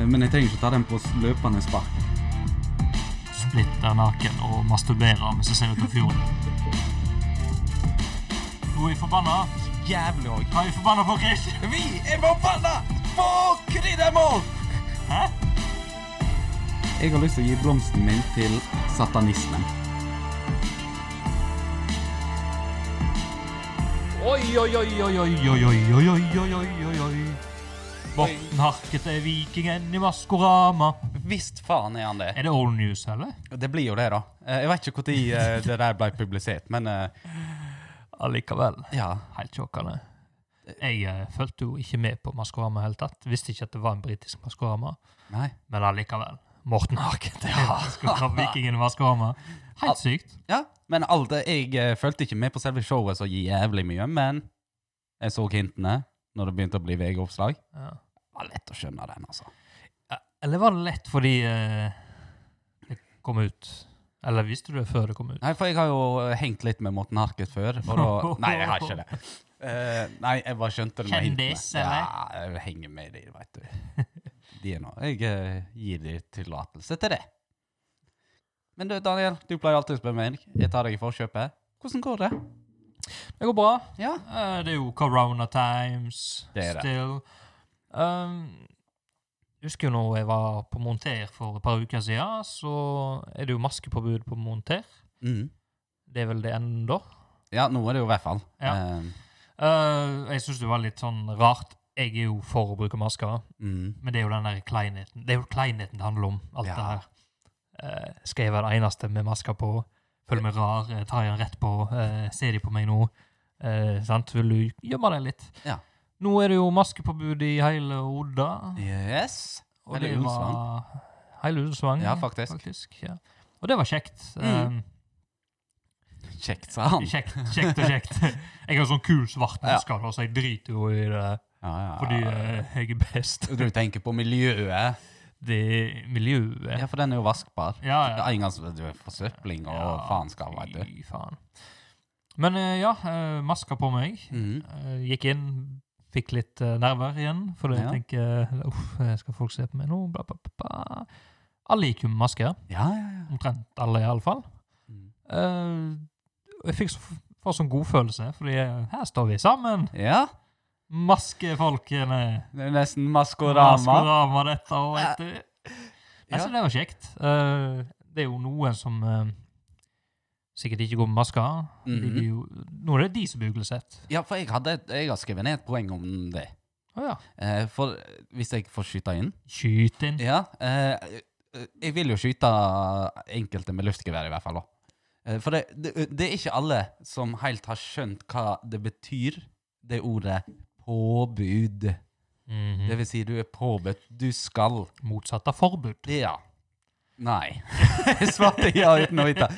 Eh, men jeg trenger ikke ta den på s- løpende spark. splitter naken og masturberer mens jeg ser ut av fjorden. Nå er jeg forbanna. Jævlig òg. Hva er jeg forbanna for, Chris? Vi er forbanna på kryddermål! Hæ? Jeg har lyst til å gi blomsten min til satanismen. Oi, oi, oi, oi, oi, oi, oi, oi, oi, oi, oi, oi, oi. Morten Harket er vikingen i Maskorama. Visst faen er han det. Er det old news, eller? Det blir jo det, da. Eh, Jeg vet ikke når det der ble publisert, men eh, Allikevel. ja. Helt sjokkende. Jeg eh, fulgte jo ikke med på Maskorama i hele tatt. Visste ikke at det var en britisk Maskorama, Nei. men allikevel. Morten Harket, ja. Skal ta vikingen i Maskorama. Helt sykt. Ja, men alt det, jeg eh, fulgte ikke med på selve showet så jævlig mye, men jeg så hintene når det begynte å bli VG-oppslag. Ja. Det var lett å skjønne den, altså. Ja, Eller var det lett fordi eh, det kom ut? Eller visste du det før det kom ut? Nei, for jeg har jo eh, hengt litt med Morten Harket før, og da Nei, jeg har ikke det. Eh, nei, jeg bare skjønte det med Kjendis, eller? Ja, jeg henger med de, veit du. De er nå Jeg eh, gir de tillatelse til det. Men du, Daniel, du pleier alltid å spørre meg. Jeg tar deg i forkjøpet. Hvordan går det? Det går bra. Ja. Eh, det er jo corona times Det er det. still. Um, husker jo når jeg var på Monter for et par uker siden, så er det jo maskepåbud på Monter. Mm. Det er vel det ennå. Ja, nå er det jo i hvert fall. Ja. Eh, Eh, jeg syns det var litt sånn rart. Jeg er jo for å bruke masker, mm. men det er jo den der kleinheten. Det er jo kleinheten det handler om, alt Ja. det her. Eh, skal jeg være den eneste med masker på? Føler meg rar? eh, Tar jeg den rett på? eh, ser de på meg nå? Eh, sant? Vil du gjemme deg litt? Ja. Nå er det jo maskepåbud i hele Odda. Yes. og hele det var- Hele Ullensvang. Ja, faktisk. Mm. ja. Og det var kjekt. Eh, Kjekt, sa han. kjekt. Kjekt og kjekt. jeg har sånn kul svart maske, da, så jeg driter jo i det Ja, ja. fordi eh, jeg er best. Du tenker på miljøet. Det miljøet. Ja, for den er jo vaskbar. Ja, ja. Det er Engangs du er forsøpling og Ja, faenskap, veit du. Fy faen. Men eh, ja, eh, maska på meg. Mm. Eh, gikk inn, fikk litt eh, nerver igjen, for jeg Ja. tenker uff, eh, skal folk se på meg nå? Bla, bla, bla, bla. Alle gikk jo med maske, Ja, ja, ja. omtrent alle iallfall. Mm. Jeg fikk så, for sånn godfølelse, fordi eh, her står vi sammen, Ja, maskefolkene. det er nesten maskorama. Maskorama dette år, vet du. Jeg Ja. synes det var kjekt. Eh, det er jo noen som eh, sikkert ikke går med masker. de Mhm. blir jo, nå er det de som blir uglesett. Ja, for jeg, hadde, et- jeg har skrevet ned et poeng om det. Å ja. Eh, for hvis jeg får skyte inn Skyt inn. Ja. Eh, eh, jeg vil jo skyte enkelte med luftgevær, i hvert fall. da. Eh, for det, det, det er ikke alle som helt har skjønt hva det betyr, det ordet påbud. Mhm. Det vil si, du er påbudt. Du skal Motsatt av forbud. Ja. Nei. Jeg svarte ja uten å vite.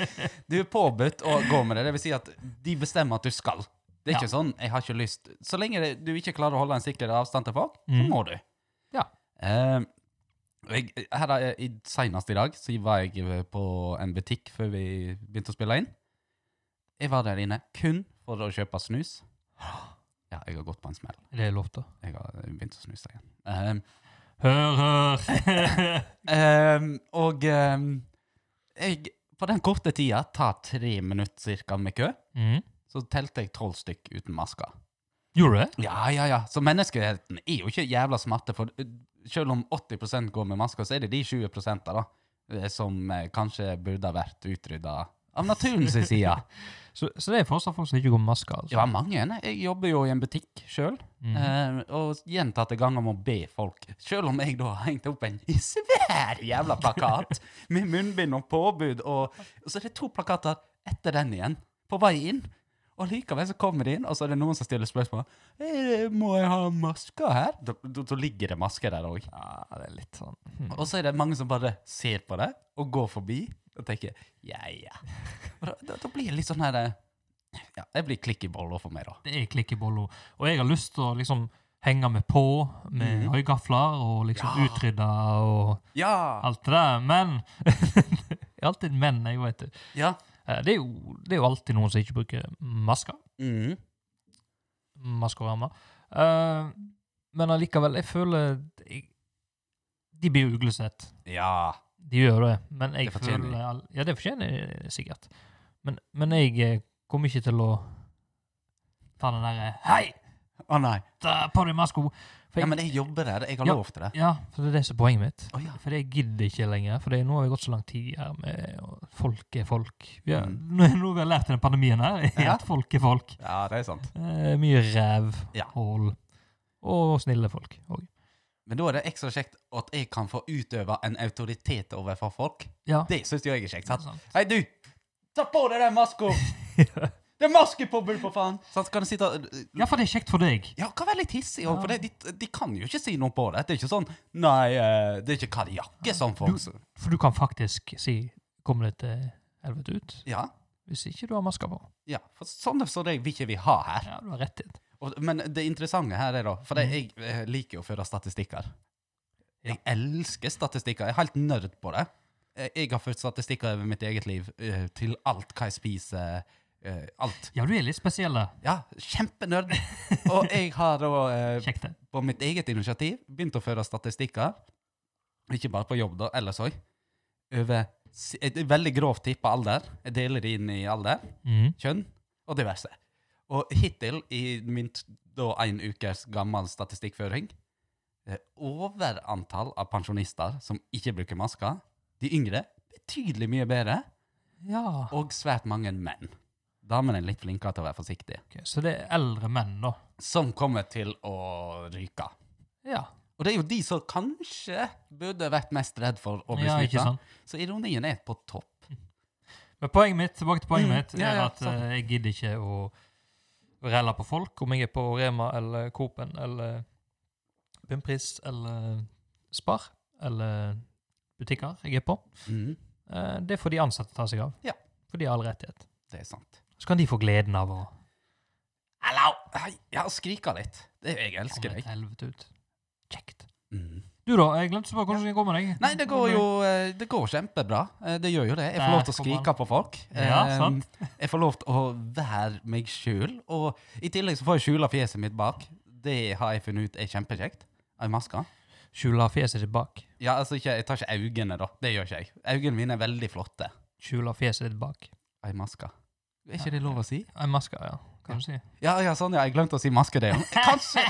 Du er påbudt å gå med det. Det vil si at de bestemmer at du skal. Det er ikke sånn 'jeg har ikke lyst'. Så lenge det, du ikke klarer å holde en sikker avstand til folk, så Mm. må du. Ja. Eh, jeg, her er, i, senest i dag så var jeg eh, på en butikk før vi begynte å spille inn. Jeg var der inne kun for å kjøpe snus. Ja, jeg har gått på en smell. Er det lov, da? Jeg har begynt å snuse igjen. Eh, Hør, hør! Ehm, og ehm, jeg, på den korte tida, ta tre minutter cirka med kø, mm. så telte jeg tolv stykk uten masker. Gjorde du det? Ja, ja, ja. Så menneskeheten er jo ikke jævla smarte, for eh, selv om 80 går med masker, så er det de 20 da, eh, som eh, kanskje burde ha vært utrydda av naturens side. Så, så det er fortsatt folk som ikke går med maske? Altså. Ja, mange. Jeg jobber jo i en butikk sjøl, Mhm. og gjentatte ganger må be folk. Sjøl om jeg da har hengt opp en svær jævla plakat med munnbind og påbud, og, og så er det to plakater etter den igjen, på vei inn. Og likevel så kommer de inn, og så er det noen som stiller spørsmål. «Eh, Må jeg ha maske her? Da, da, da ligger det maske der òg. Ja, det er litt sånn mhm. Og så er det mange som bare ser på det og går forbi og tenker ja, ja. Og da, da, da blir det litt sånn her eh, Ja, det blir klikk i bolla for meg, da. Det er klikkebolla. Og jeg har lyst til å liksom henge meg på med Mhm. høygafler og liksom Ja. utrydde og Ja! alt det der, men Det er alltid menn, jeg vet det. Ja. Eh, Det er, jo, det er jo alltid noen som ikke bruker masker. Mm. Maskorama. Eh, men allikevel, jeg føler jeg, de blir jo uglesett. Ja. De gjør det. Men jeg Det fortjener de. føler all- Ja, det fortjener de sikkert. Men, men jeg eh, kommer ikke til å ta den derre Hei, Å nei. ta på deg maska! For Ja, jeg, men jeg jobber der. Jeg har Ja. lov til det. ja, for det er det som er poenget mitt. Å ja. For jeg gidder ikke lenger. For det, nå har vi gått så lang tid her med og folk er folk. Vi har, Mm. nå, nå vi har lært i den pandemien her, er Ja. at folk er folk. ja, det er sant. Eh, mye ræv, Ja. hål og snille folk. Og, Men da er det ekstra kjekt at jeg kan få utøve en autoritet overfor folk. ja, Det syns jeg er kjekt. sant? sant. Hei, du! Ta på deg den maska! Det er maskepobbel, for faen! Sånn, kan du sitte ja, for det er kjekt for deg. Ja, hva være litt hissig òg, for det, de, de kan jo ikke si noe på det. Det er ikke sånn Nei, eh, det er ikke kajakke som folk så- For du kan faktisk si 'kom deg til helvete ut' Ja, hvis ikke du har maska på. ja, for sånn som det vil ikke vi ha her. Ja, du har rett i det. Og, men det interessante her er da For det, jeg eh, liker jo å føre statistikker. Ja. Jeg elsker statistikker. Jeg er helt nerd på det. Eh, Jeg har ført statistikker over mitt eget liv eh, til alt hva jeg spiser. eh, Alt. Ja, du er litt spesiell. da. Ja, kjempenerd. Og jeg har da eh, Kjekt, det. på mitt eget initiativ begynt å føre statistikker, ikke bare på jobb, da, ellers òg, over s- et veldig grovt tippa alder. Jeg deler det inn i alder, Mhm. kjønn og diverse. Og hittil, i min t- da en ukes gammel statistikkføring, eh, overantall av pensjonister som ikke bruker masker, de yngre, betydelig mye bedre, Ja. og svært mange menn. Damene er litt flinkere til å være forsiktige. Ok, så det er eldre menn, da. Som kommer til å ryke. Ja, Og det er jo de som kanskje burde vært mest redd for å bli ja ikke smitta. sant? Så ironien er på topp. Men poenget mitt, tilbake til poenget Mm, mitt, er ja, ja, at sant. eh, jeg gidder ikke å relle på folk, om jeg er på Rema eller Coop-en eller Bunnpris eller Spar eller butikker jeg er på. Mm, Eh, det får de ansatte ta seg av. Ja. For de har all rettighet. det er sant. Så kan de få gleden av å Hallo! Hei, Ja, skrika litt. Det er jeg elsker Kommer deg. til helvete ut. Kjekt. Mm. Du da, jeg glemte å spørre hvordan det går med deg. Nei, det går jo eh, det går kjempebra. Eh, Det gjør jo det. Jeg får lov til å Der kom han. skrike på folk. Ja, Eh, sant. Jeg får lov til å være meg sjøl. Og i tillegg så får jeg skjula fjeset mitt bak. Det har jeg funnet ut er kjempekjekt. Ei maske. Skjula fjeset ditt bak. Ja, altså ikke, jeg tar ikke øynene, da. Det gjør ikke jeg. Øynene mine er veldig flotte. Skjula fjeset ditt bak. Ei maske. Er ikke det lov å si? En maske, ja. Kan du si. Ja, ja, sånn, ja. Jeg glemte å si maske, det. Kanskje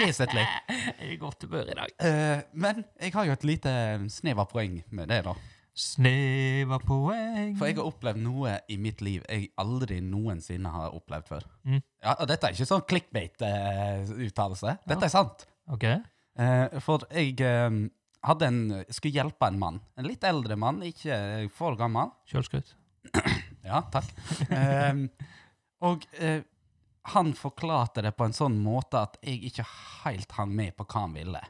vesentlig. Jeg er i godt humør i dag. Eh, men jeg har jo et lite snev av poeng med det, da. Snev av poeng. For jeg har opplevd noe i mitt liv jeg aldri noensinne har opplevd før. Mm. Ja, og dette er ikke sånn clickbait-uttalelse. Ja. dette er sant. OK. Eh, for jeg eh, hadde en, skulle hjelpe en mann. En litt eldre mann, ikke eh, for gammel. Kjølskryt. Ja, takk. Ehm, og eh, han forklarte det på en sånn måte at jeg ikke helt hang med på hva han ville.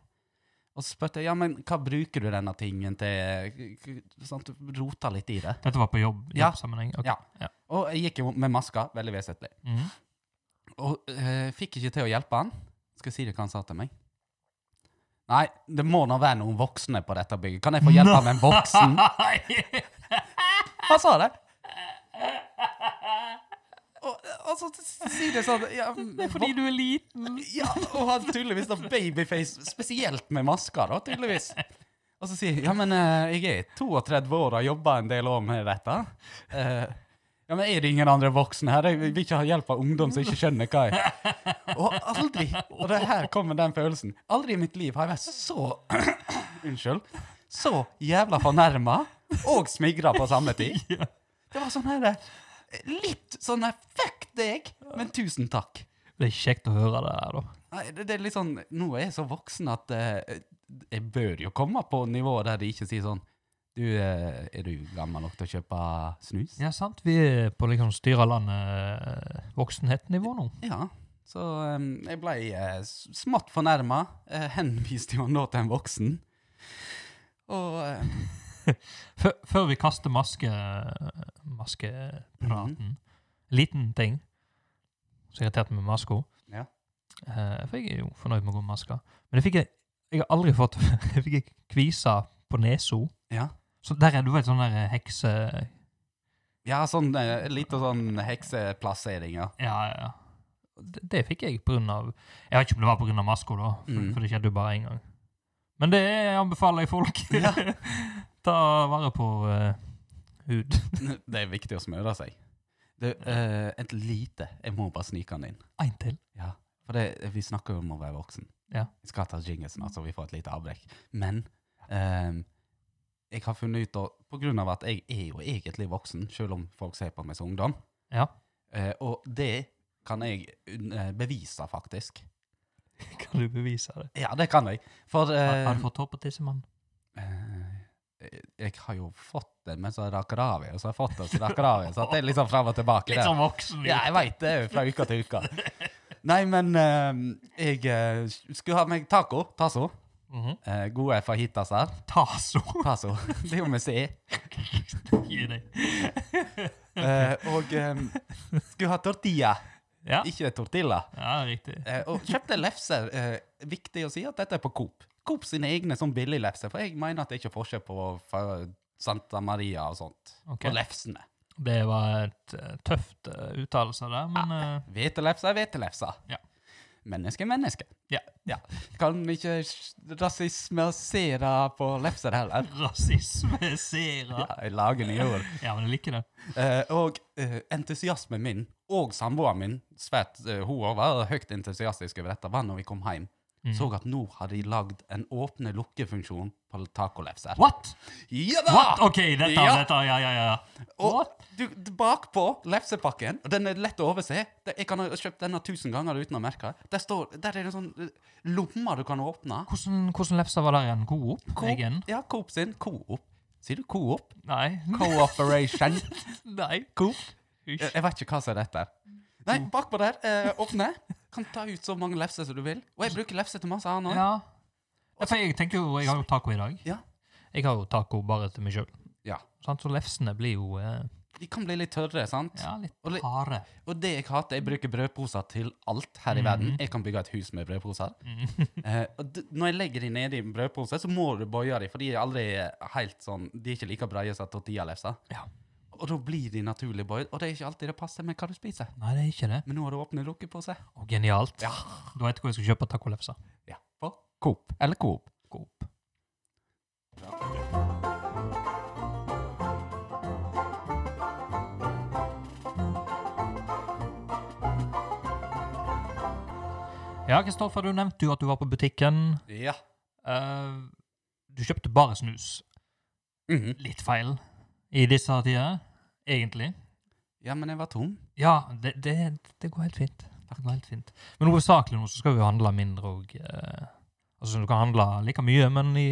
Og så spurte jeg ja, men hva bruker du denne tingen til. K- k- Sånn, at du rota litt i det. Dette var på jobb, Ja. jobbsammenheng. Ok. Ja. Og jeg gikk jo med maska, veldig vesentlig. Mhm. Og eh, fikk ikke til å hjelpe han. Skal jeg si det hva han sa til meg? Nei, det må nå være noen voksne på dette bygget. Kan jeg få hjelp av en voksen? Nei! Han sa det. Og, og så sier det sånn ja, Det er fordi du er liten. Mm. Ja, og han tydeligvis da babyface, spesielt med masker da, tydeligvis. Og så sier jeg, ja, men eh, jeg er 32 år og har jobbet en del år med dette. Eh, ja, men er det ingen andre voksne her? Jeg vil ikke ha hjelp av ungdom som ikke skjønner hva jeg... Og aldri, og det her kommer den følelsen, aldri i mitt liv har jeg vært så, unnskyld, så jævla fornærmet og smigret på samme tid. Det var sånn her, eh, litt sånn her, fuck deg, men tusen takk. Det er kjekt å høre det her, da. Nei, det, det er litt sånn Nå er jeg så voksen at eh, jeg bør jo komme på nivået der de ikke sier sånn Du, eh, er du gammel nok til å kjøpe snus? Ja, sant. Vi er på liksom styra landet voksenhet-nivå nå. Ja. Så eh, jeg ble eh, s- smått fornærma. Uh, henviste jo nå til en voksen. Og eh, Før, før vi kaster maske Mhm. maskepraten Liten ting som irriterte meg med maska. Ja. Eh, for jeg er jo fornøyd med å gå med maske. Men jeg fikk jeg, jeg har aldri fått Jeg fikk ei kvise på nesa. ja. Så der er du vet, sånn der hekse... ja, sånn uh, litt sånn hekseplassering, ja. Ja, ja, ja. Det, det fikk jeg på grunn av Jeg vet ikke om det var på grunn av maska, da, for, Mm. for det skjedde jo bare én gang. Men det er- anbefaler jeg folk. Ja. Ta vare på eh, hud. Det er viktig å smøre seg. Du, eh, et lite Jeg må bare snike den inn. En til. Ja, For det, vi snakker jo om å være voksen. Ja. Vi skal ta jingle snart, så vi får et lite avbrekk. Men eh, jeg har funnet ut, og på grunn av at jeg er jo egentlig voksen, selv om folk ser på meg som ungdom, Ja. eh, og det kan jeg eh, bevise, faktisk. Kan du bevise det? Ja, det kan jeg. For Har, har eh, du fått hår på tissemann? eh, jeg har jo fått det, men så rakker det av igjen, og så har jeg fått det, og så rakker det av igjen. Så at det er liksom fram og tilbake. Litt der. sånn voksen. Ja, jeg veit det, fra uke til uke. Nei, men eh, jeg eh, skulle ha meg taco. Taso. Mhm. Eh, gode fajitas her. Ta så Taso. Det er jo med C. i deg. Eh, og eh, skulle ha tortilla, Ja. ikke tortilla. ja, riktig. Eh, og kjøpte lefser. Eh, viktig å si at dette er på Coop. Coop sine egne sånn billiglefser, for jeg mener at det er ikke forskjell på fra Santa Maria og sånt. Ok. På lefsene. Det var et eh, tøft eh, uttalelse der, men eh, Hvetelefser er hvetelefser. Ja. Menneske er menneske. ja. Kan ikke s- rasismasere på lefser heller. Rasisme serer. Ja, jeg lager nye ord. Ja, men jeg liker det. Eh, og eh, entusiasmen min, og samboeren min, svært, eh, hun også var høyt entusiastisk over dette, var når vi kom hjem. Mm. Så at nå har de lagd en åpne-lukke-funksjon på tacolefser. What? Ja da! What? OK, dette, Ah! Ja. dette, ja, ja, ja. What? Og du, d- bakpå lefsepakken, og den er lett å overse, det, jeg kan ha kjøpt denne tusen ganger uten å merke det, der, står, der er det sånn eh, lommer du kan åpne. Hvordan, hvordan lefser var der igjen? Coop? Egen? Ja, Coop sin. Coop. Sier du Coop? Nei. Cooperation. Nei. Coop. Hysj. Jeg, jeg vet ikke hva som er dette. Nei, bakpå der. Eh, åpne. Kan ta ut så mange lefser som du vil. Og jeg bruker lefser til masse annet. Ja. Ja, For jeg tenker jo, jeg har jo taco i dag. Ja. Jeg har jo taco bare til meg sjøl. Ja. Så lefsene blir jo eh, De kan bli litt tørre, sant? ja, litt Og litt- harde. Og det jeg hater, jeg bruker brødposer til alt her i verden. Jeg kan bygge et hus med brødposer. eh, og d når jeg legger de nedi en brødpose, så må du bøye de, for de er aldri helt sånn De er ikke like breie som tortillalefser. Ja. Og da blir de naturlig bøyd, og det er ikke alltid det passer med hva du spiser. Nei, det er ikke det. Men nå har du åpnet lukkepose. Og genialt. Ja. Da vet jeg hvor jeg skal kjøpe tacolefser. Ja. På Coop. Eller Coop. Coop. Ja, Kristoffer, du nevnte jo at du var på butikken. Ja. Eh, du kjøpte bare snus. Mhm. Litt feil i disse tider, egentlig. Ja, men jeg var tom. Ja, det, det, det går helt fint. Det går helt fint. Men hovedsakelig nå så skal vi jo handle mindre og eh, Altså, du kan handle like mye, men i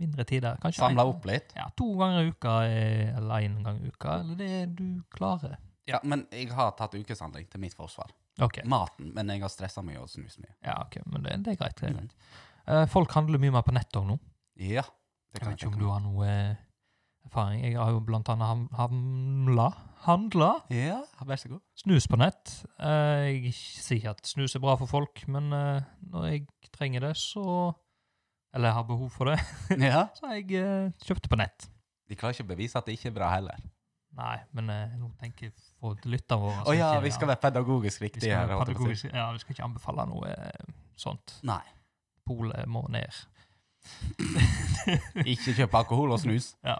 mindre tider. Kanskje Samla en- opp litt. Ja, to ganger i uka eh, eller én gang i uka. Eller det du klarer. Ja, men jeg har tatt ukeshandling til mitt forsvar. OK. Maten, men jeg har stressa mye og snust mye. Ja, ok, men det, det er greit. Det er Mm. greit. Eh, folk handler mye mer på nett òg nå. Ja. Det Jeg kan vet jeg ikke om tenke du meg. har noe eh, erfaring. Jeg har jo blant annet ham- hamla Handla Ja, vær så god. snus på nett. Eh, Jeg sier ikke at snus er bra for folk, men eh, når jeg trenger det, så Eller har behov for det, Ja. så har jeg eh, kjøpt det på nett. De klarer ikke å bevise at det ikke er bra heller. Nei, men eh, nå tenker jeg på lytterne våre. Å ja, vi skal være pedagogisk riktige her. holdt jeg på å si. pedagogisk. Ja, vi skal ikke anbefale noe eh, sånt. Nei. Polet må ned. Ikke kjøpe alkohol og snus. Eh,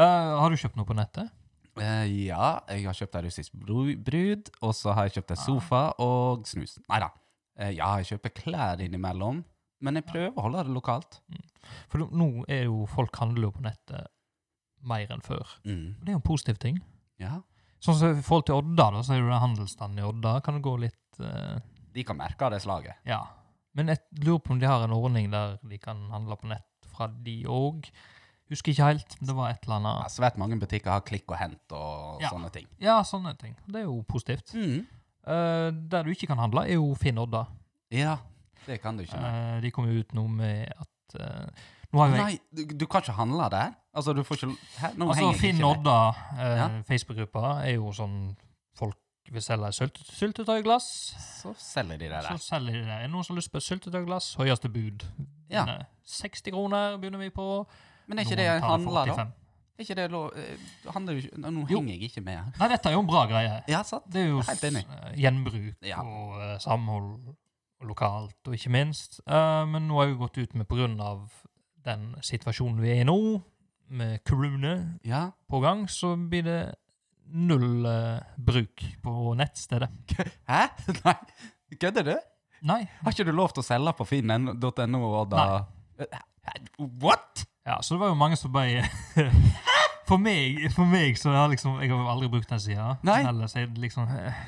har du kjøpt noe på nettet? Eh, ja, jeg har kjøpt ei russisk bru- brud, og så har jeg kjøpt Ah. en sofa og snus. Nei da. Eh, ja, jeg kjøper klær innimellom, men jeg prøver å holde det lokalt. For nå- nå er jo folk handler jo på nettet mer enn før. Mm. Og Det er jo en positiv ting. Ja. Sånn som I forhold til Odda, da, så er det jo den handelsstanden i Odda. Kan det gå litt eh, De kan merke det slaget. Ja. Men jeg lurer på om de har en ordning der de kan handle på nett fra de òg. Husker ikke helt. men Det var et eller Ja, annet svært mange butikker har klikk og hent og Ja. sånne ting. Ja, sånne ting. Det er jo positivt. Mm. Eh, der du ikke kan handle, er jo Finn Odda. Ja, det kan du ikke. nei. Eh, de kom jo ut nå med at eh, Nå har jo jeg Nei, du, du kan ikke handle der? Altså, du får ikke Hæ? Nå Altså, henger jeg Finn ikke med. Odda, eh, Ja. Facebook-gruppa, er jo sånn folk vil selge sylt syltetøyglass. Så selger de det Så der. selger de det. Er det noen som har lyst på et syltetøyglass? Høyeste bud. Ja. Nei, 60 kroner begynner vi på. Men er ikke Noen det tar det for handla, da? 85. Er ikke det lov eh, handler jo ikke Nå nå Jo. henger jeg ikke med her. Nei, dette er jo en bra greie. Ja, sant? Det er jo Helt enig. s- eh, gjenbruk Ja. og eh, samhold og lokalt, og ikke minst. Eh, men nå har jeg jo gått ut med pga. den situasjonen vi er i nå, med corona Ja. på gang, så blir det null eh, bruk på nettstedet. Hæ? Nei, kødder du? Nei. Har ikke du lov til å selge på finn.no og da Eh, What?! Ja, så det var jo mange som bare For meg, for meg så har liksom Jeg har aldri brukt den sida. Nei. Ellers er det liksom eh,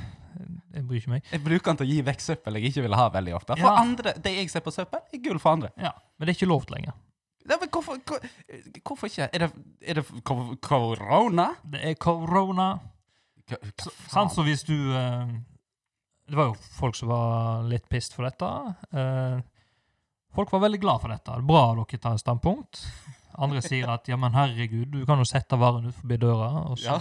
Jeg bryr ikke meg. Jeg bruker den til å gi vekk søppel jeg ikke vil ha veldig ofte. For Ja. andre, Det jeg ser på søppel, er gull for andre. Ja, Men det er ikke lovt lenger. Nei, men hvorfor, hvor, hvorfor ikke? Er det, er det kor- korona? Det er korona. Hva- hva Så- faen? Sant, så hvis du eh, Det var jo folk som var litt pissed for dette. Eh, folk var veldig glad for dette. Bra dere tar standpunkt. Andre sier at ja, men herregud, du kan jo sette varen ut forbi døra. Og så, Ja.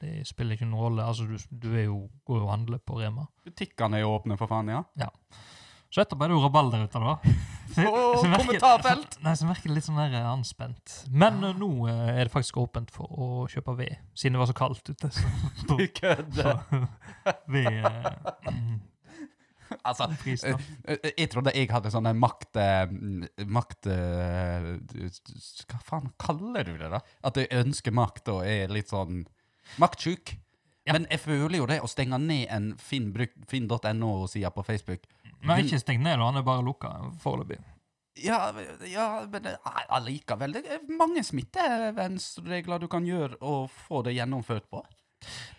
Det spiller ikke noen rolle. Altså, du, du er jo, går jo og handler på Rema. Butikkene er jo åpne, for faen, ja. Så etterpå er det jo rabalder ute, da. Så- Åh, så virker- kommentarfelt! Nei, så virker det litt sånn der eh, anspent. Men eh, nå eh, er det faktisk åpent for å kjøpe ved, siden det var så kaldt ute. Så, Du kødder. så ved eh, Altså, pris, da. eh, eh, jeg trodde jeg hadde sånne makt... eh, mm, makt... eh, Hva faen kaller du det, da? At jeg ønsker makt og er litt sånn maktsjuk. Ja. Men jeg føler jo det å stenge ned en finn.no-sida på Facebook Men ikke stengt ned, da. Han er bare lukka foreløpig. Ja, ja men eh, allikevel. Det er mange smittevernregler du kan gjøre og få det gjennomført på.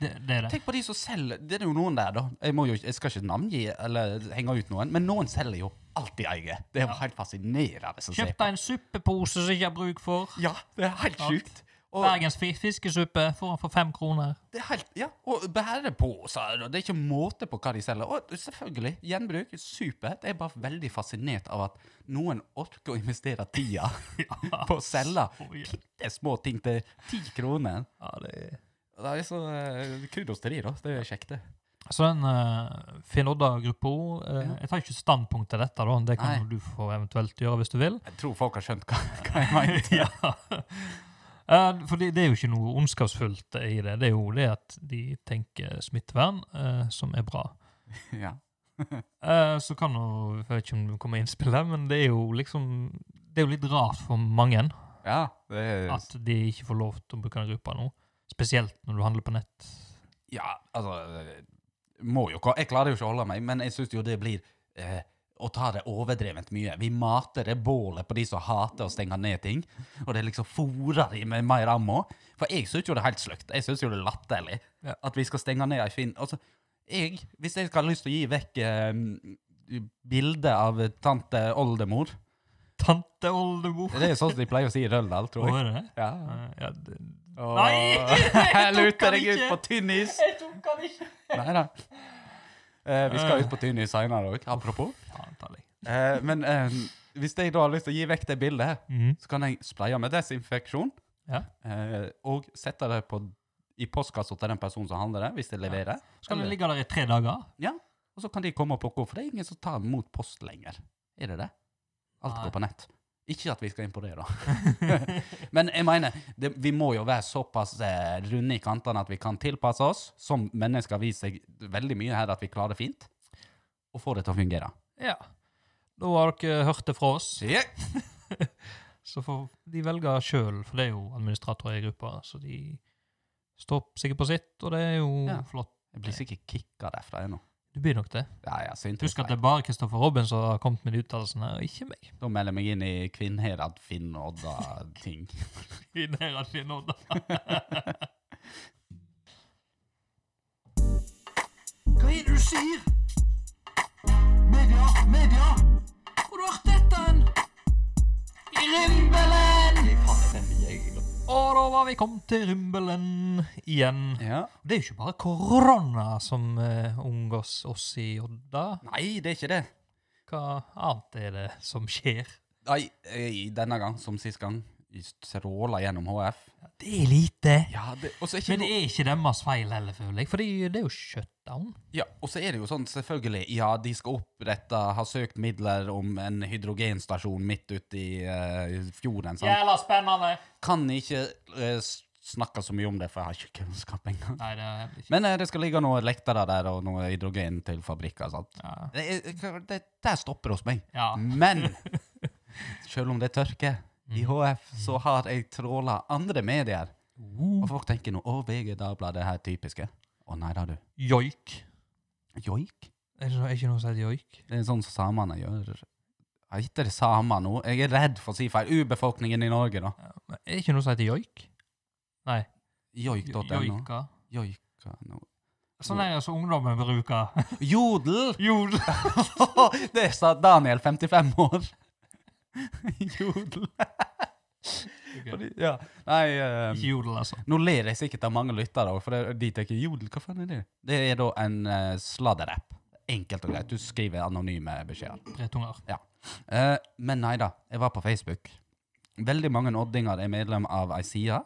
Det, det er det. Tenk på de som selger Det er jo noen der, da. Jeg, må jo, jeg skal ikke navngi eller henge ut noen, men noen selger jo alt de eier. Det er jo helt fascinerende å se Kjøp på. deg en suppepose som ikke har bruk for. Ja, det er helt Alt. sjukt. Og Bergens fi- fiskesuppe får han for fem kroner. det er helt, ja, og bæreposer. og Det er ikke måte på hva de selger. Og selvfølgelig, gjenbruk. Supert. Jeg er bare veldig fascinert av at noen orker å investere tida på å selge så jævlig. bitte små ting til ti kroner. Ja, det er... Det er så eh, Kudos til de, da. Det er kjekt, det. Så den uh, Finn Odda-gruppa eh, Jeg tar ikke standpunkt til dette, da. Det kan Nei. jo du få eventuelt gjøre hvis du vil. Jeg tror folk har skjønt hva, hva jeg mener. ja. Eh, for det, det er jo ikke noe ondskapsfullt i det. Det er jo det at de tenker smittevern, eh, som er bra. Ja. Eh, så kan jo Jeg vet ikke om det kommer innspill her, men det er jo liksom Det er jo litt rart for mange ja det er, at de ikke får lov til å bruke den gruppa nå. Spesielt når du handler på nett. Ja, altså eh, må jo, Jeg klarer jo ikke å holde meg, men jeg syns jo det blir eh, å ta det overdrevent mye. Vi mater det bålet på de som hater å stenge ned ting, og det liksom fôrer de med mer ammo. For jeg syns jo det er helt sløkt. Jeg syns jo det er latterlig Ja. at vi skal stenge ned ei finn... Altså, jeg, hvis jeg skal ha lyst til å gi vekk eh, bilde av tante oldemor Tante oldemor! Det er sånn de pleier å si i Røldal, tror Hva jeg. er det? Ja. Eh, ja, det, Og- Nei! Jeg tok luter han deg ut ikke. på tynn is! Jeg tok den ikke! Nei da. Eh, vi skal ut på tynn is seinere òg, apropos. Faen ta deg. Eh, men eh, hvis jeg da har lyst til å gi vekk det bildet, Mhm. så kan jeg spleie med desinfeksjon Ja. eh, og sette det på, i postkassa til den personen som handler det, hvis de leverer. Eh, Skal det ligge der i tre dager? Ja, Og så kan de komme og plukke opp, for det er ingen som tar imot post lenger. Er det det? Alt Nei. går på nett. Ikke at vi skal inn på det, da. Men jeg mener, det, vi må jo være såpass eh, runde i kantene at vi kan tilpasse oss. Som mennesker har vist seg veldig mye her at vi klarer fint. Og få det til å fungere. Ja. Da har dere hørt det fra oss. Ja. Så får de velge sjøl, for det er jo administratorer i gruppa, så de står sikkert på sitt, og det er jo Ja. flott. Jeg blir sikkert kicka derfra ennå. Du blir nok det. Ja, ja, synd. Husk at det er bare Kristoffer Robin som har kommet med de uttalelsene, og ikke meg. Da melder jeg meg inn i Kvinnherad, Finn, Odda, ting. I dere sin ånd. Hva er det du sier? Media, media! Hvor har du hørt dette hen? I rimbelen! Og da var vi kommet til Rumbelen igjen. Ja. Det er jo ikke bare korona som eh, omgås oss i Odda. Nei, det er ikke det. Hva annet er det som skjer? Nei, eh, denne gang, som sist gang, stråler gjennom HF. Det er lite. Ja, det, og så er ikke Men det noe- er ikke deres feil heller, føler jeg, fordi det er jo shutdown. ja, og så er det jo sånn, selvfølgelig, ja, de skal opprette, har søkt midler om en hydrogenstasjon midt ute i eh, fjorden, sant? spennende! Kan ikke eh, s- snakke så mye om det, for jeg har ikke kunnskap engang. Nei, det er ikke Men eh, det skal ligge noe lektere der, og noe hydrogen til fabrikker. sant? ja. Det, er- det, der stopper det hos meg. ja. Men selv om det er tørke Mm. i HF, så har jeg tråla andre medier. Mm. Oh, Og folk tenker nå 'Å, VG, Dagbladet, det her typiske'. Å nei da, du. Joik. Joik? Er det er ikke noe som heter joik? Det er sånn som samene gjør. Jeg heter det samer nå. Jeg er redd for å si feil. Urbefolkningen i Norge, da. Men Er det ikke noe som heter joik? Nei. Joik.no. jo- Joika. Joika no. Sånn er det som ungdommen bruker. Jodel! Jord. det sa Daniel, 55 år. Jodel. Ikke Ja. Nei, eh, jodel, altså. nå ler jeg sikkert av mange lyttere òg, for det- de tenker jodel, hva faen er det? Det er da en uh, sladderapp. Enkelt og greit. Du skriver anonyme beskjeder. Tre tunger. Eh, men nei da, jeg var på Facebook. Veldig mange oddinger er medlem av ei side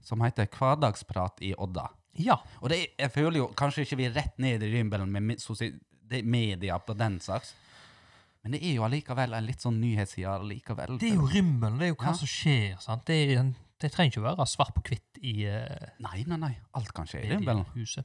som heter Hverdagsprat i Odda. Mm. Ja. Og det, er- jeg føler jo kanskje ikke vi er rett ned i rymbelen med mi- sosi- det er media på den slags, men det er jo allikevel en litt sånn nyhetsside allikevel. Det er jo rymmelen. Det er jo Ja. hva som skjer. sant? Det, er, en- det trenger ikke å være svart på hvitt i eh, Nei, nei, nei. Alt kan skje i rymbelen. mediehuset.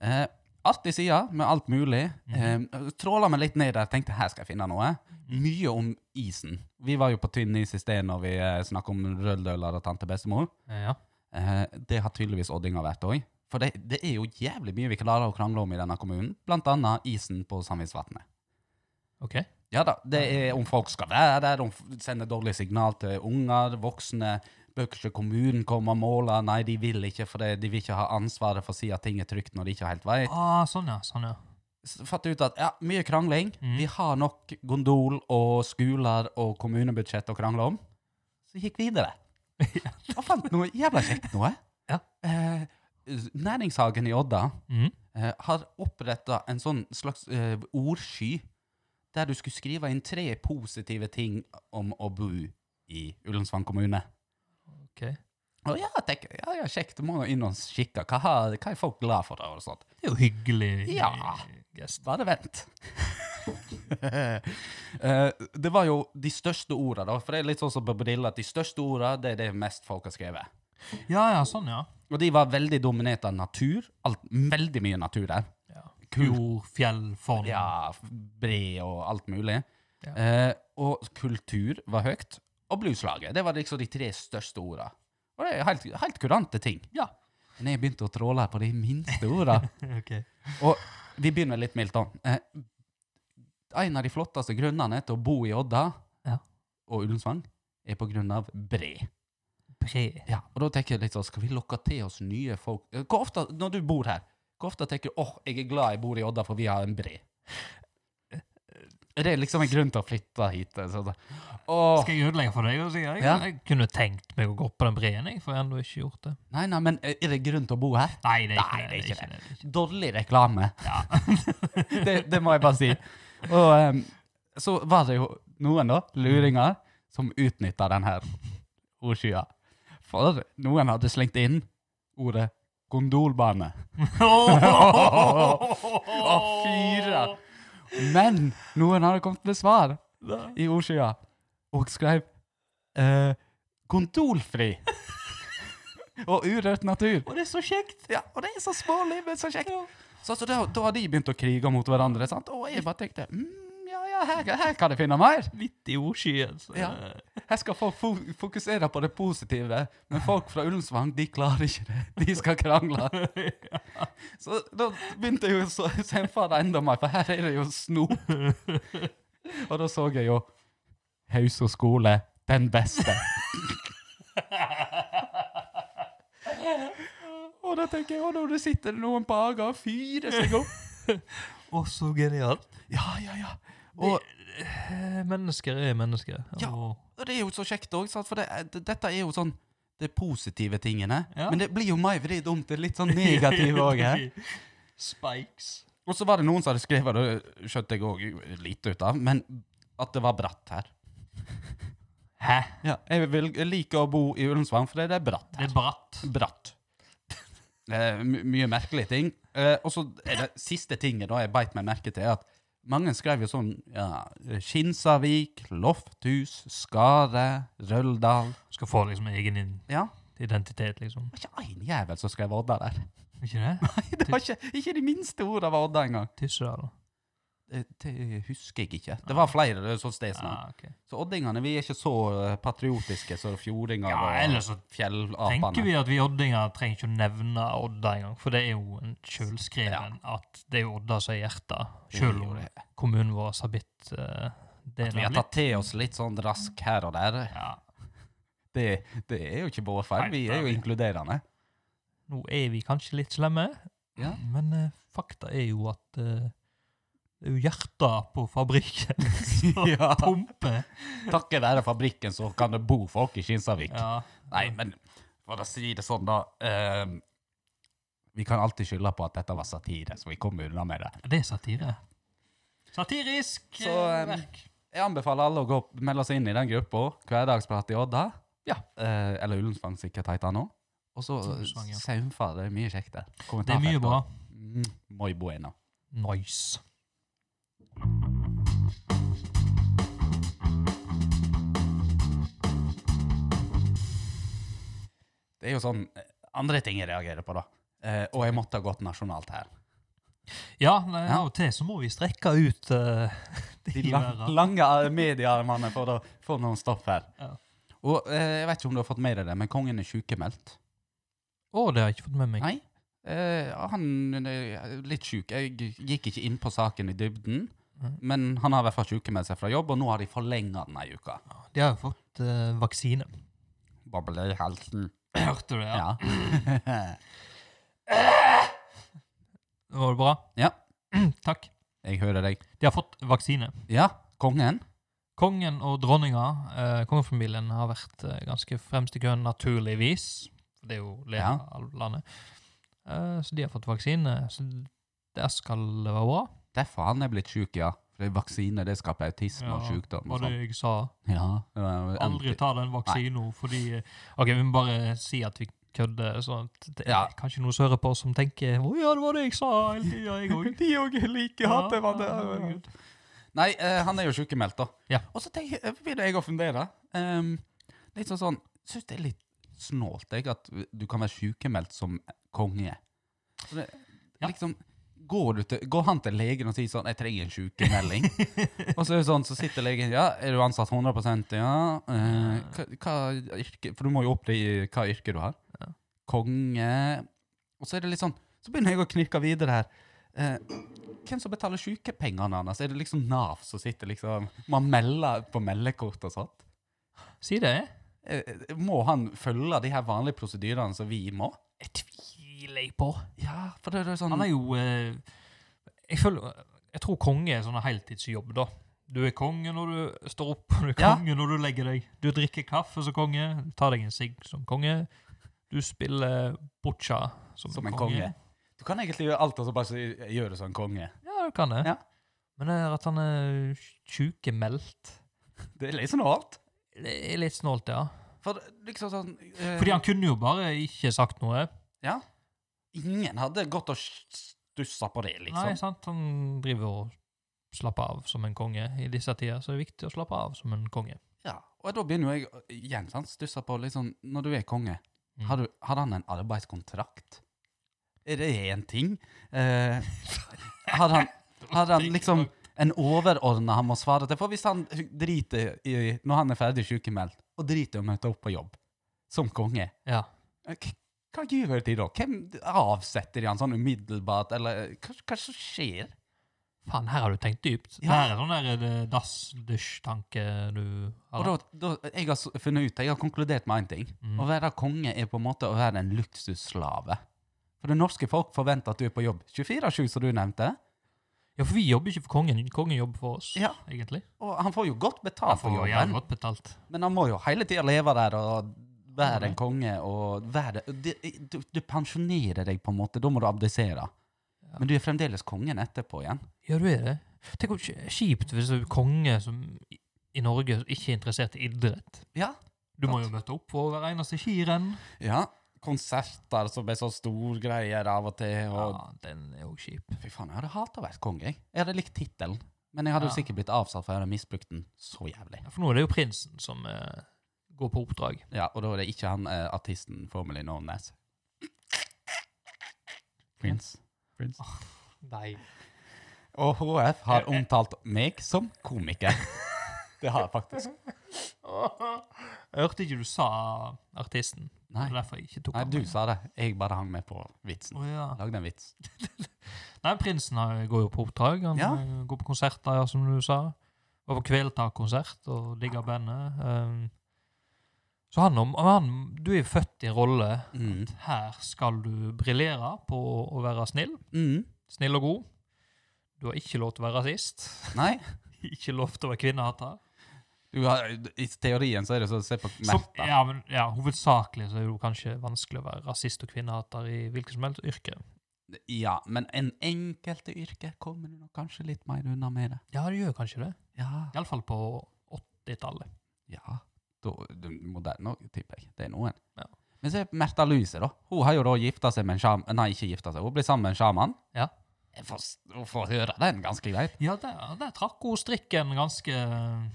Eh, artig side med alt mulig. Mhm. Eh, tråla meg litt ned der, tenkte her skal jeg finne noe. Mye om isen. Vi var jo på tynn is i sted når vi eh, snakket om røldøler og tante bestemor. Eh, Ja. Eh, det har tydeligvis oddinger vært òg. For det, det er jo jævlig mye vi klarer å krangle om i denne kommunen, blant annet isen på Sandvinsvatnet. OK. Ja da, det er om folk skal være der, om f- sender dårlige signal til unger, voksne. Bør ikke kommunen komme og måle? Nei, de vil ikke, for det, de vil ikke ha ansvaret for å si at ting er trygt når de ikke helt vet. Ah, sånn, ja. Sånn, ja. Så Fatt ut at ja, mye krangling. Mm. Vi har nok gondol og skoler og kommunebudsjett å krangle om. Så gikk vi videre. Og fant noe jævla kjekt noe. Ja. Eh, næringshagen i Odda Mhm. eh, har oppretta en sånn slags eh, ordsky der du skulle skrive inn tre positive ting om å bo i Ullensvang kommune. OK. Det Og ja, tenker, jeg, ja, ja, kjekt, må inn og kikke. Hva, har- hva er folk glad for? da, Og sånt. er jo hyggelig. Ja. Gest. Bare vent. Eh, det var jo de største orda, da. For det er litt sånn som på Brille, at de største orda, det er det mest folk har skrevet. Ja, ja, sånn, ja. Og de var veldig dominert av natur. Alt, veldig mye natur der. ja. Kult. Jord, fjell, form. Ja, bre og alt mulig. Ja. Eh, og kultur var høyt. Og blueslaget. Det var liksom de tre største orda. Og det er helt, helt kurante ting. Ja. Men jeg begynte å tråle på de minste orda. Ok. Og vi begynner litt mildt, da. Eh, en av de flotteste grunnene til å bo i Odda Ja. og Ullensvang er på grunn av bre. Bre. Ja, og da tenker jeg litt sånn, skal vi lokke til oss nye folk? Eh, Hvor ofte, når du bor her, hvor ofte tenker du, åh, jeg er glad jeg bor i Odda, for vi har en bre? Er det liksom en grunn til å flytte hit? eh, Sånn. Åh, Skal jeg ødelegge for deg? og si- Jeg, Ja. jeg kunne tenkt meg å gå på den breen, jeg, for jeg har ennå ikke gjort det. nei, nei, men eh, er det grunn til å bo her? Nei, det er ikke Nei, det. det, det er er ikke det. det er ikke det. Dårlig reklame. Ja. det, det må jeg bare si. Og em, så var det jo noen da, luringer, som utnytta den her ordskya. For noen hadde slengt inn ordet gondolbane. Og fyra! Men noen hadde kommet med svar i ordskya, og skrev eh, 'gondolfri' og 'urørt natur'. Og det er så kjekt! Ja, og det er så smålig, men så kjekt. Så, så da, da har de begynt å krige mot hverandre, sant? og jeg bare tenkte mm, ja, ja, her, her kan jeg finne mer. Midt i ordskyen. så- Ja. Her skal folk fo fokusere på det positive, men folk fra Ullensvang de klarer ikke det. De skal krangle. Så da begynte jeg jo å se- se for meg enda mer, for her er det jo snop. Og da så jeg jo Haus og skole, den beste. Og da tenker jeg, og når det sitter noen på Aga og fyrer seg opp Å, så genialt. Ja, ja, ja. Og, Eh, Mennesker er mennesker. Ja. Og, og det er jo så kjekt òg, for det, er- det, dette er jo sånn de positive tingene. Ja. Men det blir jo meg vridd om til litt sånn negative òg. her. Spikes. Og så var det noen som hadde skrevet, og det skjønte jeg òg lite ut av, men at det var bratt her. Hæ? Ja, jeg, vil, jeg liker å bo i Ullensvang, for det er bratt Det her. er bratt. Bratt. Eh, my- mye merkelige ting. Eh, og så er det siste tinget da jeg beit meg merke til, er at mange skrev jo sånn ja, Skinsavik, Lofthus, Skare, Røldal. Skal få liksom egen inn. Ja. identitet, liksom. Det var ikke én jævel som skrev Odda der. Ikke det? Det var ikke, ikke de minste ordene var Odda engang. Tysse der, da. Det, det husker jeg ikke. Det var flere det er sånn stedsnavn. Ja, Ah, ok. Så oddingene vi er ikke så eh, patriotiske som fjordinger Ja, eller så Tenker fjellapene. vi at vi oddinger trenger ikke å nevne Odda engang, for det er jo en kjølskreven at det er jo Odda som er hjertet, Det er selv jo om det. kommunen vår har bitt eh, det Vi har tatt til oss litt sånn rask her og der. Ja, Det, det er jo ikke vår feil. Vi er jo inkluderende. nå er vi kanskje litt slemme, Ja. men eh, fakta er jo at eh, det er jo hjertet på fabrikken som Ja. pumper. Takket være fabrikken så kan det bo folk i Kinsarvik. Ja. Nei, men for å si det sånn, da. ehm, vi kan alltid skylde på at dette var satire, så vi kom unna med det. Det er satire. Satirisk eh, Så, eh, verk. Jeg anbefaler alle å gå, opp- melde seg inn i den gruppa. Hverdagsprat i Odda. Ja. Eh, eller Ullensvang, sikkert heter den nå. Og så Ullensvang, ja. Saumfar. Det er mye kjekt der. Det er mye bra. Mm, Moi bueno. Nice. Det er jo sånn eh, andre ting jeg reagerer på, da. Eh, og jeg måtte ha gått nasjonalt her. Ja, nei, Ja. av og til så må vi strekke ut eh, De i lang, verden. lange eh, mediearmene for å få noen stopp her. Ja. Og eh, jeg vet ikke om du har fått med deg det, men kongen er sykemeldt. Å, det har jeg ikke fått med meg. Nei. Eh, han er litt syk. Jeg gikk ikke inn på saken i dybden, Mm. men han har i hvert fall sykemeldt seg fra jobb, og nå har de forlenga den ei uke. De har jo fått eh, vaksine. Boble i halsen. Hørte du det? Ja. Ja. Var det bra? Ja. Takk. Jeg hører deg. De har fått vaksine. Ja, kongen. Kongen og dronninga, eh, kongefamilien, har vært eh, ganske fremst i køen, naturligvis. Det er jo leder Ja. av landet. Eh, så de har fått vaksine, så der skal det være bra. Derfor han er blitt syk, ja. Fordi vaksine det skaper autisme og Ja, sykdom. Var Og det sånn. jeg sa? ja, det var- Aldri ta den vaksinen fordi eh, OK, vi må bare si at vi kødder. sånn at det er Ja. kanskje noen som hører på, som tenker 'Å ja, det var det jeg sa hele tida, jeg òg'. De òg er like hater man det. Nei, eh, han er jo sykemeldt, da. Ja. Og så tenker jeg, eh, begynner jeg å fundere. Um, litt sånn sånn Syns det er litt snålt, jeg, at du kan være sykemeldt som konge. Så det, Ja. liksom, går, du til, går han til legen og sier sånn 'Jeg trenger en sykemelding'. og så er det sånn, så sitter legen 'Ja, er du ansatt 100 Ja. eh, hva, hva yrke For du må jo oppgi hva yrke du har. Konge. Og så er det litt sånn Så begynner jeg å knirke videre her. Eh, hvem som betaler sykepengene hans? Er det liksom Nav som sitter liksom Man melder på meldekort og sånn? sånt. Si det. Eh, Må han følge de her vanlige prosedyrene som vi må? Jeg tviler jeg på. Ja, for det er jo sånn Han er jo eh, Jeg føler Jeg tror konge er sånn en heltidsjobb, da. Du er konge når du står opp, og du er Ja. konge når du legger deg. Du drikker kaffe som konge, du tar deg en sigg som konge. Du spiller boccia som, som en konge. Du kan egentlig gjøre alt og så bare si- gjøre det som en konge. Ja, du kan det. Ja. Men det er at han er sjukemeldt Det er litt sånn alt. Det er litt snålt, ja. For liksom sånn eh, Fordi han kunne jo bare ikke sagt noe. Ja. eh, Ingen hadde gått og stussa på det, Nei, liksom. sant? Han driver og slapper av som en konge i disse tider, så det er viktig å slappe av som en konge. Ja. Og da begynner jo jeg igjen sant, stussa på liksom Når du er konge, Mm. har du, hadde han en arbeidskontrakt? Er det én ting? Eh, hadde, han, hadde han liksom en overordna han må svare til? For hvis han driter i, når han er ferdig sykemeldt, og driter i å møte opp på jobb som konge, Ja. eh, k- hva gjør de da? Hvem avsetter de han sånn umiddelbart, eller eh, hva, hva som skjer? Faen, her har du tenkt dypt. Ja. Det her er sånn der eh, dass-dusj-tanke du Og har. da, da, jeg har s- funnet ut, jeg har konkludert med én ting. Mm. Å være konge er på en måte å være en luksusslave. For det norske folk forventer at du er på jobb 24-7, som du nevnte. Ja, for vi jobber ikke for kongen. Kongen jobber for oss, Ja. egentlig. Og han får jo godt Han betalt for får jævlig jobben, godt betalt. men han må jo hele tida leve der og Ja, være det. en konge og være Du, du, du pensjonerer deg på en måte, da må du abdisere. Men du er fremdeles kongen etterpå igjen. Ja, du er det. Tenk hvor kj- kjipt hvis du er konge som i- i Norge ikke er interessert i idrett. Ja. Du må jo møte opp for hver eneste skirenn. ja. Konserter som er så storgreier av og til. Ja, Og, den er jo kjip. Fy faen, jeg hadde hata å være konge. jeg. Jeg hadde likt tittelen, men jeg hadde jo Ja. sikkert blitt avsatt for jeg hadde misbrukt den så jævlig. Ja, For nå er det jo prinsen som er går på oppdrag. Ja, og da er det ikke han eh, artisten formerly known as. Prince. Prince. Nei. Og HF har omtalt meg som komiker. Det har jeg faktisk. Jeg hørte ikke du sa artisten. Nei, Det er derfor jeg ikke tok nei han du med. sa det. Jeg bare hang med på vitsen. Å, ja. Lagde en vits. Nei, prinsen har- går jo på oppdrag. Han Ja. eh, går på konserter, ja, som du sa. Var på Kvelertak-konsert og digger bandet. Um, så han, om- han Du er født i en rolle. Mm. Her skal du briljere på å være snill. Mm. Snill og god. Du har ikke lov til å være rasist. Nei, ikke lov til å være kvinnehater. du har, i teorien så er det så å se på Som, Märtha. ja, men, ja, hovedsakelig så er det jo kanskje vanskelig å være rasist og kvinnehater i hvilket som helst yrke. Ja, men en enkelte yrke kommer du nok kanskje litt mer unna med det. Ja, det gjør kanskje det. Ja. Iallfall på 80-tallet. Ja, da, du, moderne også, tipper jeg. Det er noen. Ja. Men se Märtha Louise, da. Hun har jo da gifta seg med en sjaman Nei, ikke gifta seg, hun ble sammen med en sjaman. Ja. Jeg får, s- hun får høre den ganske greit. Ja, der, der trakk hun strikken ganske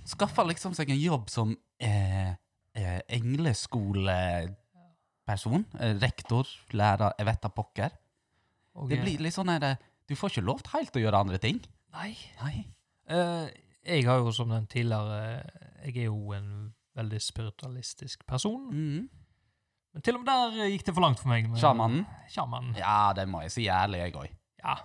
Skaffa liksom seg en jobb som eh, eh, engleskoleperson. Eh, rektor, lærer, jeg vet da pokker. og- Det blir litt sånn her eh, Du får ikke lov til helt å gjøre andre ting. Nei. Nei. Eh, jeg har jo som den tidligere Jeg er jo en veldig spiritualistisk person. Mm. Men til og med der eh, gikk det for langt for meg. med- Sjamanen? Sjamanen. Ja, det må jeg si ærlig, jeg òg. Ja.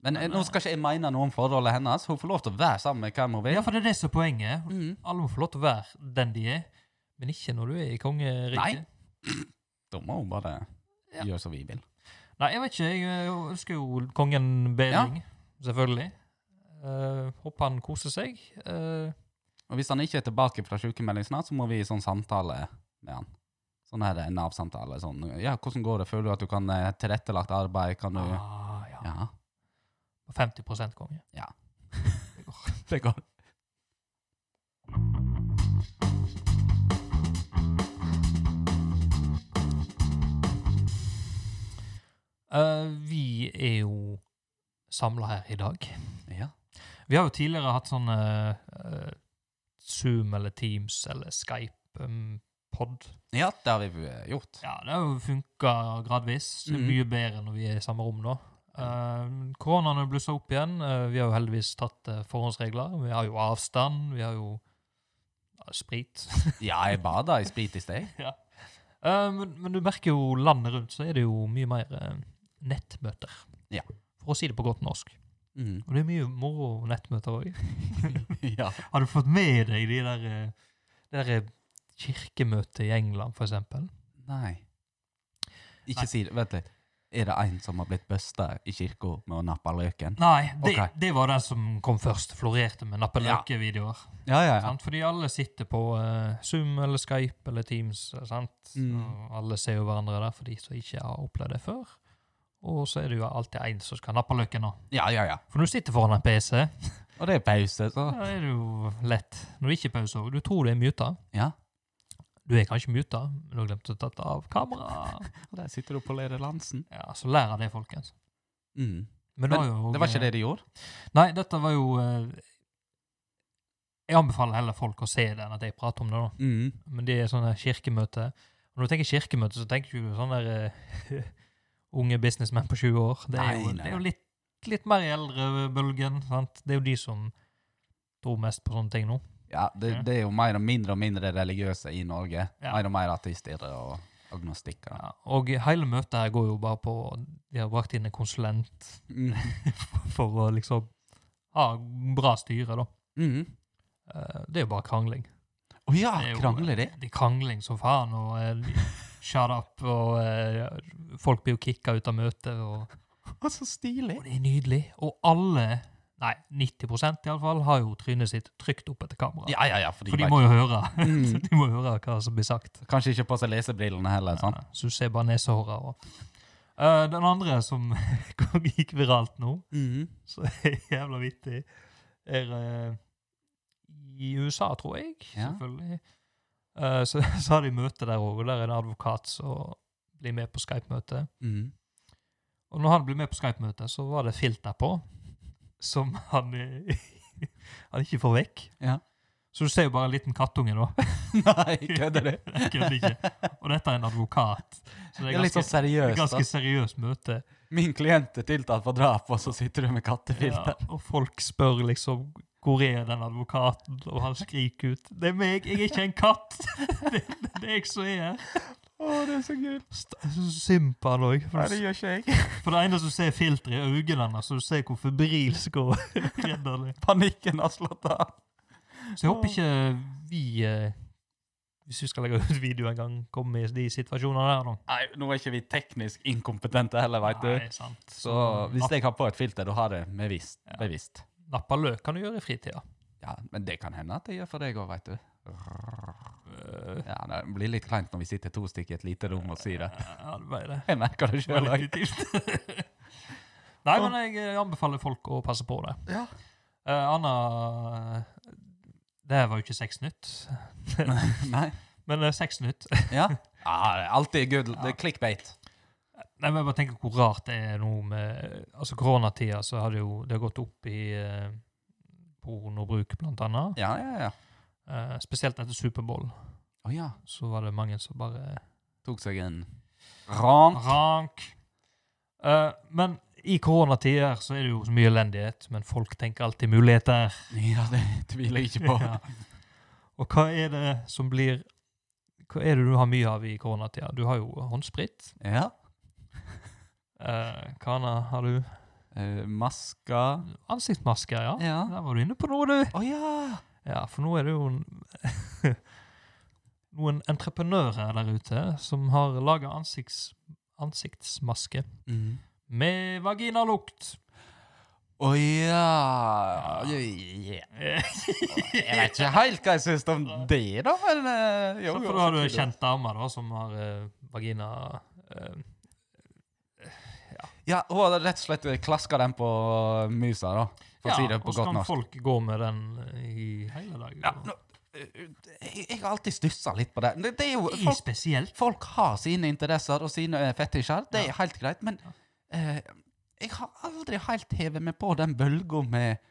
Men eh, nå skal ikke jeg mene noe om forholdet hennes. Hun får lov til å være sammen med hvem hun vil. ja, for det er det som er poenget. Mm. Alle må få lov til å være den de er, men ikke når du er i kongeriket. Nei. Da må hun bare gjøre som vi vil. Nei, jeg vet ikke. Jeg eh, ønsker jo kongen bedring, selvfølgelig. Eh, håper han koser seg. Eh, Og hvis han ikke er tilbake fra sykemelding snart, så må vi i sånn samtale med han. Sånn her eh, Nav-samtale. Sånn, ja, hvordan går det? Føler du at du kan eh, tilrettelagt arbeid? Kan du ah, ja. Ja. 50 konge. Det går. Eh, vi er jo samla her i dag. Ja. Vi har jo tidligere hatt sånne eh, Zoom eller Teams eller Skype-pod. ja, det har vi eh, gjort. ja, det har jo funka gradvis. Det er Mhm. Mye bedre når vi er i samme rom nå. Eh, koronaen har blussa opp igjen. Eh, vi har jo heldigvis tatt eh, forhåndsregler. Vi har jo avstand, vi har jo ja, sprit. Ja, jeg bada i sprit i sted. Eh, men, men du merker jo landet rundt, så er det jo mye mer eh, nettmøter. Ja. For å si det på godt norsk. Mm. Og det er mye moro nettmøter òg. ja. Har du fått med deg de der, eh, det der eh, kirkemøtet i England, for eksempel? Nei. Ikke Nei. si det. Vent litt. Er det en som har blitt busta i kirka med å nappe løken? Nei, det, Ok. det var den som kom først. Florerte med nappeløke-videoer. Ja, ja, ja. Sant? Fordi alle sitter på eh, Zoom eller Skype eller Teams. eh, Sant? Mm. Og alle ser jo hverandre der, for de som ikke har opplevd det før. Og så er det jo alltid en som skal nappe løken nå. Ja, ja, ja. For når du sitter foran en PC, Og det er pause, så da er det jo lett. Når det ikke er pause òg. Du tror du er muta. Ja. Du er kanskje muta, men du har glemt å ta av kameraet. Og der sitter du på Lede Lansen. Ja, så lær av det, folkens. Mm. Men, Men det, var jo, eh, Det var ikke det de gjorde? Nei, dette var jo eh, Jeg anbefaler heller folk å se det enn at jeg prater om det, da. Mm. Men det er sånne kirkemøter. Og når du tenker kirkemøte, så tenker du sånn der eh, unge businessmenn på 20 år. Det er jo, Nei, nei. Det er jo litt, litt mer i eldrebølgen. sant? Det er jo de som tror mest på sånne ting nå. Ja, det, Ja. det er jo mer og mindre og mindre religiøse i Norge. Mm. Ja. Mer og mer ateister og agnostikkere. Ja. Og hele møtet her går jo bare på De har brakt inn en konsulent Mm. for å liksom ha bra styre, da. Mm. Eh, Det er jo bare krangling. Å ja, Det er jo- krangler de? Det er krangling som faen, og eh, shut up, og eh, folk blir jo kicka ut av møtet. og... Å, så stilig! Og det er nydelig. Og alle, nei, 90 iallfall, har jo trynet sitt trygt opp etter kamera. Ja, ja, ja, for de, For de vet- må jo høre. Mm. de må høre hva som blir sagt. Kanskje ikke på seg lesebrillene heller, sånn. sant? Så du ser bare nesehåra og Eh, Den andre som gikk viralt nå, Mm. så er jævla vittig, er eh, i USA, tror jeg, Ja. selvfølgelig. Eh, så, så har de møte der òg, og der er det en advokat som blir med på Skype-møte. Mm. Og når han ble med på Skype-møtet, så var det filter på som han, eh, han ikke får vekk. Ja. Så du ser jo bare en liten kattunge, da. Nei, kødder du? Jeg kødder ikke. Og dette er en advokat. Så Det det er er litt ganske, sånn seriøst. ganske da. seriøst møte. Min klient er tiltalt for drap, og så sitter du med Ja, kattefilter. og folk spør liksom hvor er den advokaten, og han skriker ut 'Det er meg, jeg er ikke en katt!' Det, det er jeg som er her. Å, det er så gøy. St- Så Simpan òg. Nei, det gjør ikke jeg. For det eneste du ser, er filteret i øynene hans, så du ser hvor febrilsk og redd han er. Panikken har slått av. Så jeg håper ikke vi, eh, hvis vi skal legge ut video en gang, kommer i de situasjonene der, da. Nei, nå er ikke vi teknisk inkompetente heller, veit du. Nei, sant. Så Ah, hvis jeg har på et filter, da har jeg det bevisst. bevisst. Nappa løk kan du gjøre i fritida. Ja, men det kan hende at jeg gjør for deg òg, veit du. Ja, det blir litt kleint når vi sitter to stykker i et lite rom og sier det. Ja, det ble det. Jeg merker det sjøl òg. Nei, men jeg eh, anbefaler folk å passe på det. Ja. Eh, Anna eh, Det her var jo ikke sexnytt, Nei. men eh, sexnytt Ja. ja det er alltid good. Det er clickbait. Nei, men jeg bare tenker hvor rart det er nå med Altså koronatida, så har det jo det har gått opp i eh, pornobruk, blant annet. Ja, ja, ja. Eh, spesielt etter Superbowl, Å ja. så var det mange som bare Tok seg en rant. Rank! Eh, men i koronatider så er det jo så mye elendighet, men folk tenker alltid muligheter. Ja, det tviler jeg ikke på. Ja. Og hva er det som blir Hva er det du har mye av i koronatida? Du har jo håndsprit. Ja. Eh, hva annet har du? Eh, masker. Ansiktsmasker, ja. Ja. Der var du inne på noe, du. Å ja! Ja, for nå er det jo en- noen entreprenører der ute som har laga ansikts, ansiktsmaske Mm. med vaginalukt. Å ja. ja. Jeg vet ikke helt hva jeg syns om det, da, men eh, jo, Så jo, for da har du ei selvfølgelig. kjent dame da, som har eh, vagina eh, Ja, hun har rett og slett klaska den på eh, musa, da. For å si det og på så godt kan norsk. folk gå med den i hele dag. Ja, og- nå, eh, jeg, jeg har alltid stussa litt på det. det. Det er jo Det er folk, spesielt. folk har sine interesser og sine eh, fetisjer, det er helt greit, men eh, jeg har aldri helt hevet meg på den bølga med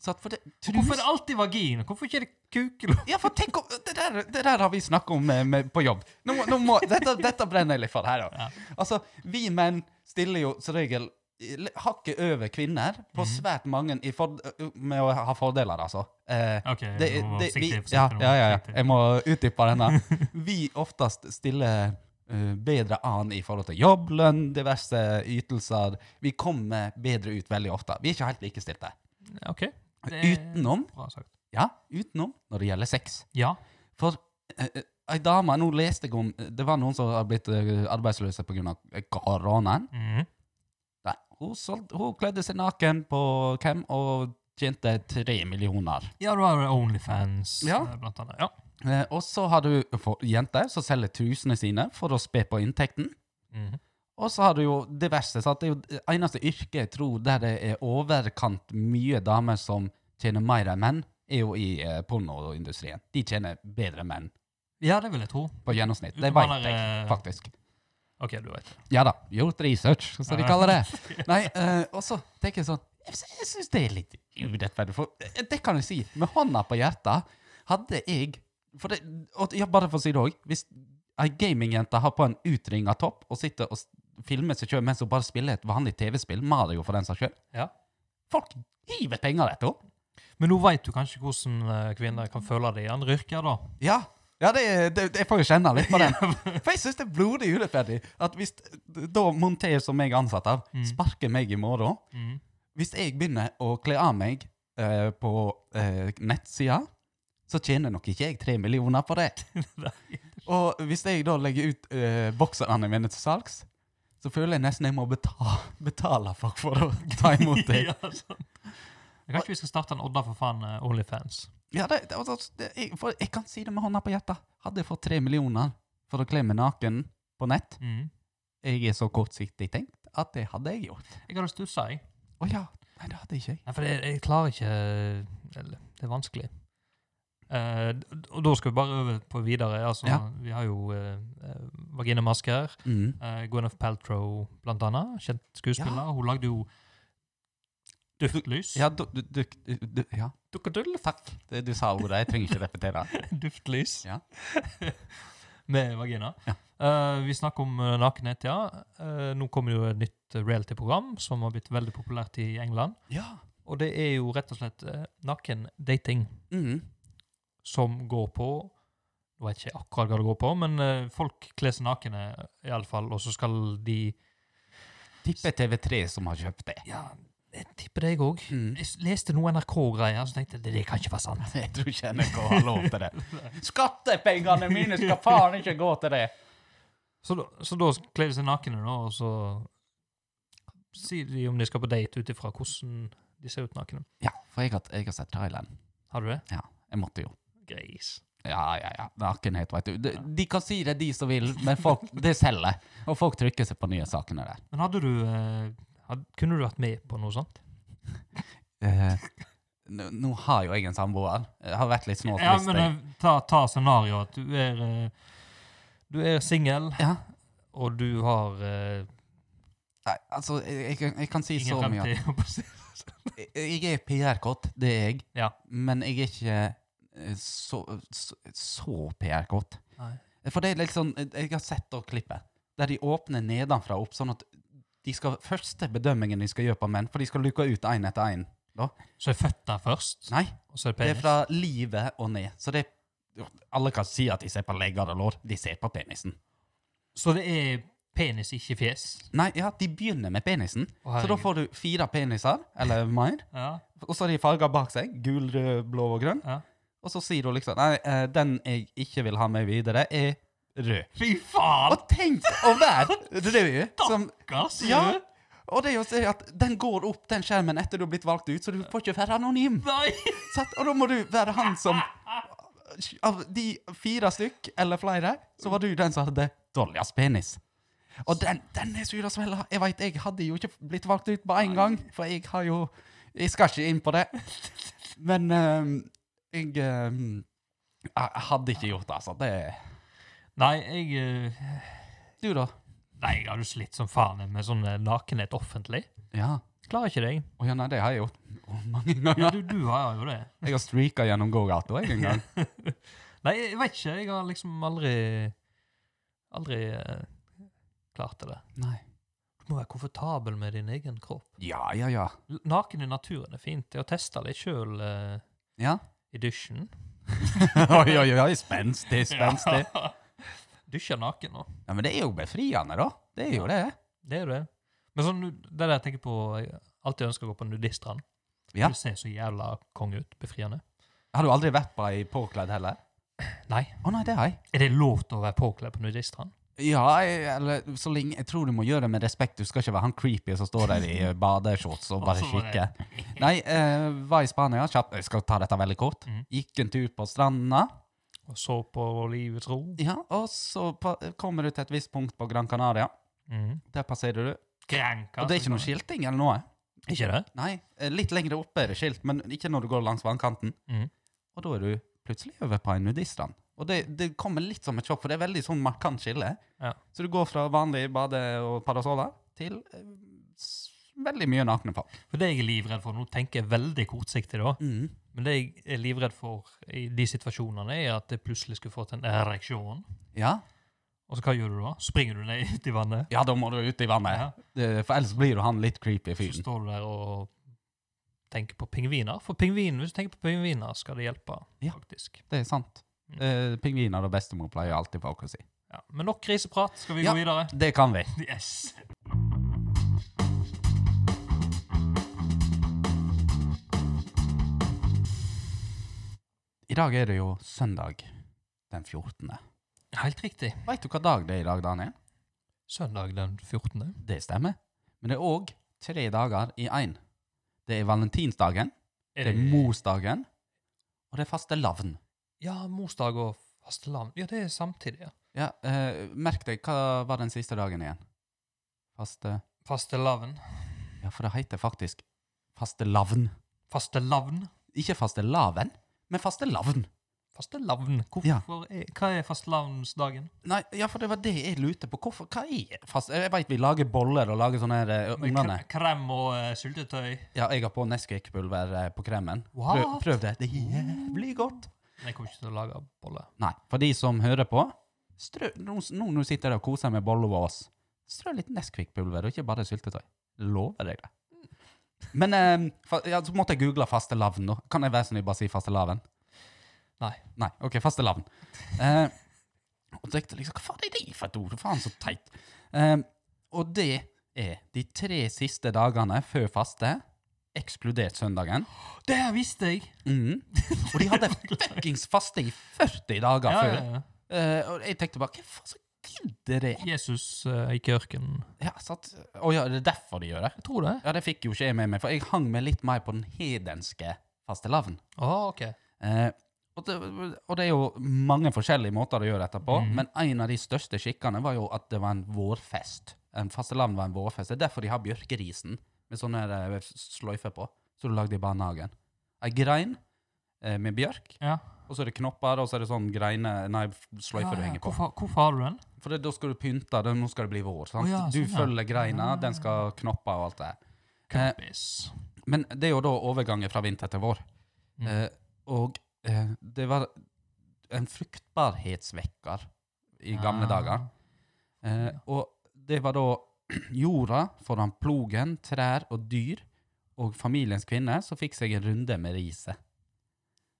satt for det, Hvorfor er trus- det alltid vagina? Hvorfor ikke er det kukelort? Ja, for tenk om, det, der, det der har vi snakket om eh, med, på jobb. Nå, må- nå må, dette, dette brenner jeg litt for her. Da. Altså, vi menn stiller jo som regel eh, l- hakket over kvinner på Mhm. svært mange i for, med å ha fordeler, altså. Eh, Ok, det, nå var det, vi, forsiktig, forsiktig ja, nå, ja, ja, ja. forsiktig. Jeg må utdype denne. Vi oftest stiller eh, bedre an i forhold til jobb, lønn, diverse ytelser. Vi kommer bedre ut veldig ofte. Vi er ikke helt likestilte. Ok. Det er Utenom, Bra sagt. ja, utenom når det gjelder sex. Ja. For eh, eh, ei dame Nå leste jeg om eh, Det var noen som har blitt eh, arbeidsløse pga. eh, koronaen. Mhm. Nei, hun, solgte- hun kledde seg naken på hvem og tjente tre millioner. Ja, du har Onlyfans, Ja. eh, blant annet. Ja. Eh, og så har du for- jenter som selger trusene sine for å spe på inntekten. Mhm. Og så har du jo diverse. Sant? Det er jo det eneste yrket jeg tror der det er overkant mye damer som tjener mer enn menn, er jo i eh, pornoindustrien. De tjener bedre enn menn ja, det vil jeg tro. på gjennomsnitt. Det Utenom veit han der, jeg eh, faktisk. Ok, du vet. Ja da, gjort research, som de Ja. kaller det. Nei, eh, og så tenker jeg sånn Jeg, sy- jeg syns det er litt urettferdig, for eh, det kan jeg si. Med hånda på hjertet hadde jeg for det, og, ja, Bare for å si det òg. Hvis ei gamingjente har på en utringa topp og sitter og s- filmer seg sjøl mens hun bare spiller et vanlig TV-spill, Mario for den saks skyld Ja. Folk hiver penger etter henne! Men nå veit du kanskje hvordan eh, kvinner kan føle det i andre yrker, da. Ja. Ja, det, det, det, jeg får jo kjenne litt på den. For jeg syns det er blodig urettferdig at hvis eh, da Monter, som jeg er ansatt av, sparker meg i morgen Mhm. Hvis jeg begynner å kle av meg eh, på eh, nettsida, så tjener nok ikke jeg tre millioner på det. Og hvis jeg da legger ut eh, bokserne mine til salgs, så føler jeg nesten jeg må betale, betale folk for å ta imot det. ja, sant. Jeg kan ikke vi skal starte en Odda for faen eh, Onlyfans. Ja, det, det, altså, det, jeg, for jeg kan si det med hånda på hjertet. Hadde jeg fått tre millioner for å kle meg naken på nett, Mhm. jeg er så kortsiktig tenkt, at det hadde jeg gjort. Jeg hadde stussa, jeg. Å ja, nei, det hadde ikke jeg. Nei, for jeg, jeg klarer ikke Eller, det er vanskelig. Eh, d- og da skal vi bare øve på videre. Altså, Ja. Vi har jo eh, eh, vaginamasker. Mm. eh, Uh, Gwyneth Paltrow, blant annet. Kjent skuespiller. Hun lagde jo Duftlys. Ja, du, du, du, du, ja. Dukkedull. Takk. Det- Du sa ordet. Jeg trenger ikke repetere. Duftlys. Ja. Med vagina. Eh, vi snakker om eh, nakenhet, ja. Eh, nå kommer jo et nytt eh, reality-program som har blitt veldig populært i England. Ja. Og det er jo rett og slett eh, naken-dating Mm. som går på Jeg vet ikke akkurat hva det går på, men eh, folk kler seg nakne iallfall, og så skal de Tipper TV3 som har kjøpt det. Ja, jeg tipper deg òg. Mm. Jeg s- leste noe NRK-greier, så tenkte jeg det, det kan ikke være sant. Jeg tror ikke NRK har lov til det. Skattepengene mine skal faen ikke gå til det! Så, da- så da kler de seg nakne, da, og så sier de om de skal på date ut ifra hvordan de ser ut nakne. Ja, for jeg har, jeg har sett Thailand. Har du det? Ja, jeg måtte jo. Greis. Ja, ja, ja. Nakenhet, veit du. De, de kan si det, de som vil, men folk, det selger. Og folk trykker seg på nye sakene der. Men hadde du eh, had, Kunne du vært med på noe sånt? Eh, nå, nå har jo jeg en samboer. Jeg har vært litt snålt. Ja, hvis men jeg- eh, ta, ta scenarioet at du er eh, Du er singel, ja. og du har eh, Nei, altså, jeg, jeg, kan- jeg kan si ingen så mye at fremtid. holdt på å si. jeg, Eh, jeg er PR-kåt, det er jeg. Ja. Men jeg er ikke eh, så, så, så PR-kåt. Nei. For det er liksom Jeg har sett da klippet der de åpner nedenfra opp, sånn at de skal, første bedømmingen de skal gjøre på menn, for de skal luke ut én etter én. Så er født der først, Nei, og så er det det er penis? fra livet og ned. Så det Alle kan si at de ser på legger og lår. De ser på penisen. Så det er penis, ikke fjes? Nei, ja, de begynner med penisen. Så Å, da herregud. får du fire peniser, eller mer, Ja, og så har de farger bak seg. Gul, rød, blå og grønn. ja. Og så sier hun liksom Nei, eh, den jeg ikke vil ha med videre, er rød. Fy faen! Og tenk å være rød som Gass, Ja! Og det er jo å si at den går opp, den skjermen, etter du har blitt valgt ut, så du får ikke være anonym. Nei! Sant? og da må du være han som Av de fire stykk, eller flere, så var du den som hadde dårligst penis. Og den, den er sur å svelge. Jeg veit, jeg hadde jo ikke blitt valgt ut på én gang, for jeg har jo Jeg skal ikke inn på det. Men ehm, jeg ehm, jeg hadde ikke gjort det, altså. Det, Nei, jeg eh, du, da? Nei, jeg har jo slitt som faen jeg, med sånn eh, nakenhet offentlig. Ja. Klarer ikke det, jeg. Å ja, nei, det har jeg gjort Å, mange Ja, ganger. du, du har jo det. Jeg har streaka gjennom gågata jeg, en gang. Nei, jeg vet ikke. Jeg har liksom aldri Aldri eh, klart det. Nei. Du må være komfortabel med din egen kropp. Ja, ja, ja. L- Naken i naturen er fint. Jeg har testa det sjøl eh, Ja. i dusjen. oi, oi, oi, spenstig, spenstig. Dusja naken nå. Ja, men det er jo befriende, da. Det er jo det. Det er jo det. Men sånn, det er det jeg tenker på Jeg alltid ønsker å gå på nudiststrand. Ja. Du ser så jævla konge ut. Befriende. Har du aldri vært på ei påkledd heller? Nei. Å nei, det har jeg. Er det lov til å være påkledd på nudiststrand? Ja, jeg, eller så lenge Jeg tror du må gjøre det med respekt. Du skal ikke være han creepy som står der i eh, badeshorts og Altså, bare Og så bare- kikker. Nei, eh, var i Spania. Kjapt. Jeg skal ta dette veldig kort. Mhm. Gikk en tur på stranda. Og så på livets ro? Ja, og så på, kommer du til et visst punkt på Gran Canaria. Mhm. Der passerer du. Granca, Og det er ikke som noe skilting eller noe. Ikke det? Nei, eh, litt lenger oppe er det skilt, men ikke når du går langs vannkanten. Mhm. Og da er du plutselig over på en nudiststrand. Og det, det kommer litt som et sjokk, for det er veldig sånn markant skille. Ja. Så du går fra vanlig bade- og parasoller til eh, s- veldig mye nakne folk. For det jeg er livredd for, nå tenker jeg veldig kortsiktig da, men det jeg er livredd for i de situasjonene, er at jeg plutselig skulle fått en ereksjon. Ja. Og så hva gjør du da? Springer du ned ut i vannet? ja, da må du ut i vannet. Ja. Det- For ellers blir jo han litt creepy Så fyren. står du der og tenker på pingviner. For pingvin, hvis du tenker på pingviner, skal det hjelpe, Ja. faktisk. Det er sant. Mm. Eh, pingviner og bestemor pleier alltid folk å si. Ja. Men nok griseprat, skal vi Ja. gå videre? Det kan vi. Yes! I dag er det jo søndag den 14. Helt riktig. Veit du hva dag det er i dag, Daniel? Søndag den 14. Det stemmer. Men det er òg tre dager i én. Det er valentinsdagen, det er morsdagen, og det er fastelavn. Ja, morsdag og fastelavn. Ja, det er samtidig, ja. Ja, eh, merk deg, hva var den siste dagen igjen? Faste Fastelavn. Ja, for det heter faktisk fastelavn. Fastelavn. Ikke fastelavn, men fastelavn. fastelavn? Ja. Hvorfor er, hva er fastelavnsdagen? Nei, ja, for det var det jeg lurte på. Hvorfor, hva er fast... Jeg vet vi lager boller og lager sånne her, eh, Med ungene. kre- Krem og eh, syltetøy? Ja, jeg har på Nesquik-pulver eh, på kremen. What? Prøv, prøv det. Det er jævlig godt. Jeg kommer ikke til å lage bolle. Nei, for de som hører på, strø, nå, nå, nå sitter dere og koser med boller over oss. Strø litt Nesquik-pulver, og ikke bare syltetøy. Lover jeg det. Men eh, fa, ja, så måtte jeg google fastelavn nå. Kan jeg være snill bare si fastelavn? Nei. Nei, ok, fastelavn. Eh, og tenkte liksom, hva faen er det for et ord? Faen så teit. Eh, og det er de tre siste dagene før faste, ekskludert søndagen. Det visste jeg! Mhm. Og de hadde fuckings faste i 40 dager Ja, før. ja, ja. Eh, og jeg tenkte bare, hva faen så gidder det? Jesus eh, gikk i ørkenen. Ja, satt, å ja, det er derfor de gjør det. Jeg tror det. Ja, det fikk jo ikke jeg med meg, for jeg hang meg litt mer på den hedenske fastelavn. Å, ok. Eh, og, det, og det er jo mange forskjellige måter å gjøre dette på, Mhm. men en av de største skikkene var jo at det var en vårfest. En fastelavn var en vårfest. Det er derfor de har bjørkerisen med sånne eh, sløyfer på, som du lagde i barnehagen. Ei grein eh, med bjørk, Ja. og så er det knopper, og så er det sånn greine, nei, sløyfer du Ja, ja. henger på. Hvorfor, hvorfor har du den? For det, da skal du pynte, da, nå skal det bli vår. sant? Å ja, du sånn, ja. følger greina, den skal knoppe og alt det her. Eh, Kumpis. men det er jo da overgangen fra vinter til vår. Mm. Eh, og eh, det var en fruktbarhetsvekker i gamle Ah. dager. Eh, og det var da jorda foran plogen, trær og dyr, og familiens kvinne som fikk seg en runde med riset.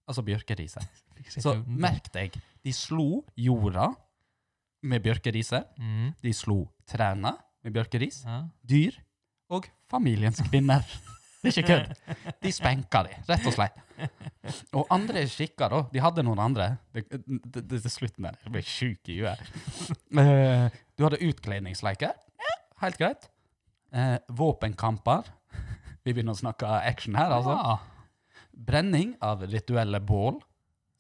Altså bjørkeriset. Så merk deg, de slo jorda med bjørkeriset. Mm. De slo trærne med bjørkeris, Ja. dyr og familiens kvinner. Det er ikke kødd. De spenka de, rett og slett. Og andre skikker da, de hadde noen andre. Det, det, det er slutten der, jeg ble sjuk i huet. Eh, Du hadde utkledningsleiker, ja, helt greit. Eh, våpenkamper, vi begynner å snakke action her altså. Ja. Brenning av rituelle bål,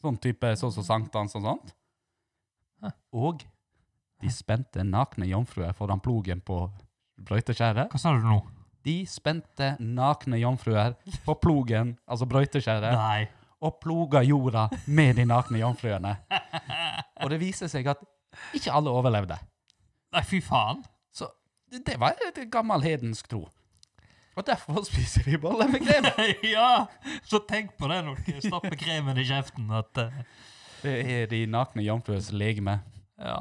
sånn type sånn som sankthans og sånt. Hæ. Og de spente nakne jomfruer foran plogen på brøyteskjæret. Hva sa du nå? De spente nakne jomfruer på plogen, altså brøyteskjæret, Nei. og ploga jorda med de nakne jomfruene. Og det viser seg at ikke alle overlevde. Nei, fy faen. Så det det var et gammel hedensk tro. Og derfor spiser vi boller med krem. ja! Så tenk på det når dere stapper kremen i kjeften. At, eh, Det er de nakne jomfruers legeme. ja.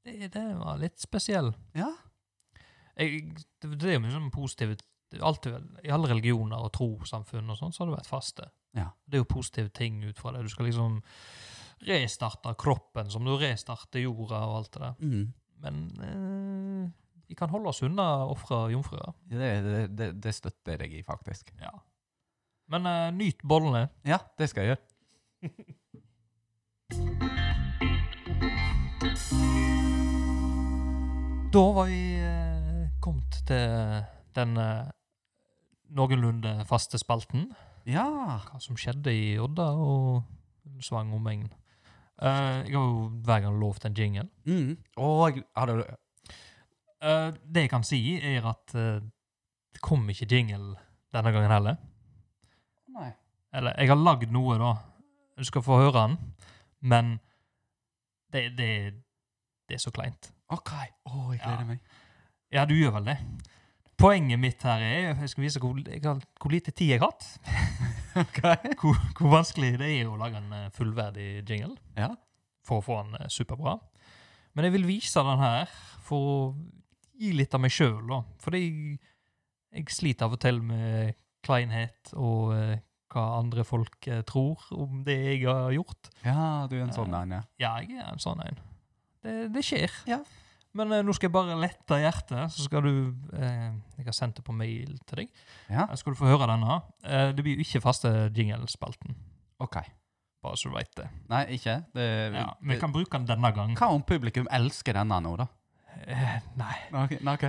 Det, det var litt spesiell. Ja. Jeg, det, det er jo mye sånn positive alt, I alle religioner og trossamfunn og sånn, så har det vært faste. Ja. Det er jo positive ting ut fra det. Du skal liksom restarte kroppen som du restarter jorda og alt det der. Mm. Men eh, vi kan holde oss unna ofre jomfruer. Det, det, det, det støtter jeg i, faktisk. Ja. Men eh, nyt bollene. Ja, det skal jeg gjøre. Da var vi eh, kommet til den eh, noenlunde faste spalten. Ja. Hva som skjedde i Odda og svang omegn. Eh, jeg har jo hver gang lovt en jingle. Mm. Og har du Eh, det jeg kan si, er at eh, det kom ikke jingle denne gangen heller. Nei. Eller, jeg har lagd noe, da. Du skal få høre den. Men det, det, det er så kleint. OK. Å, jeg Ja. gleder meg. Ja, du gjør vel det. Poenget mitt her er Jeg skal vise hvor, jeg har, hvor lite tid jeg har hatt. Ok. Hvor, hvor vanskelig det er å lage en eh, fullverdig jingle Ja. for å få den eh, superbra. Men jeg vil vise den her for å gi litt av meg sjøl, da. Fordi jeg sliter av og til med kleinhet og eh, hva andre folk eh, tror om det jeg har gjort. ja, du er en sånn en, ja. Ja, jeg er en sånn en. Det, det skjer. Ja. Men eh, nå skal jeg bare lette hjertet, så skal du eh, Jeg har sendt det på mail til deg. Ja. Her skal du få høre denne. Eh, det blir jo ikke faste jinglespalten, OK. bare så du veit det. Nei, ikke? Det, Ja, vi kan bruke den denne gang. Hva om publikum elsker denne nå, da? Eh, nei, Ok. ok.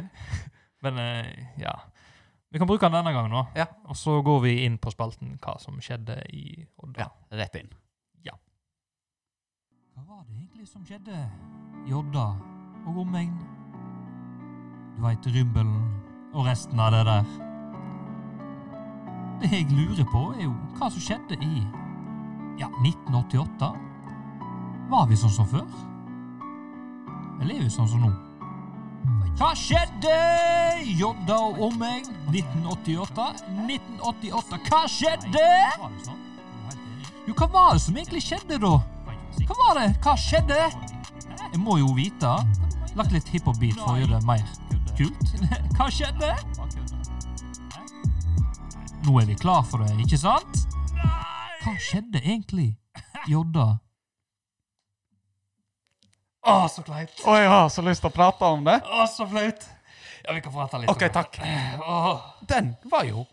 men eh, ja. Vi kan bruke den denne gangen nå. Ja. Og så går vi inn på spalten hva som skjedde i Odda. Ja, rett inn. Hva var det egentlig som skjedde i Odda og omegn? Du veit Rymbelen og resten av det der. Det jeg lurer på, er jo hva som skjedde i ja, 1988, Var vi sånn som før? Eller er vi sånn som nå? Hva skjedde? Jodda og omegn 1988. 1988, hva skjedde? Jo, hva var det som egentlig skjedde da? Hva var det? Hva skjedde? Jeg må jo vite. Lagt litt hiphop-beat for å gjøre det mer kult. Hva skjedde? Nå er vi klar for det, ikke sant? Hva skjedde egentlig? Jodda. Å, så kleint. Å, jeg har så lyst til å prate om det. Å, så flaut! Ja, vi kan prate litt OK, takk. Åh, Den var jo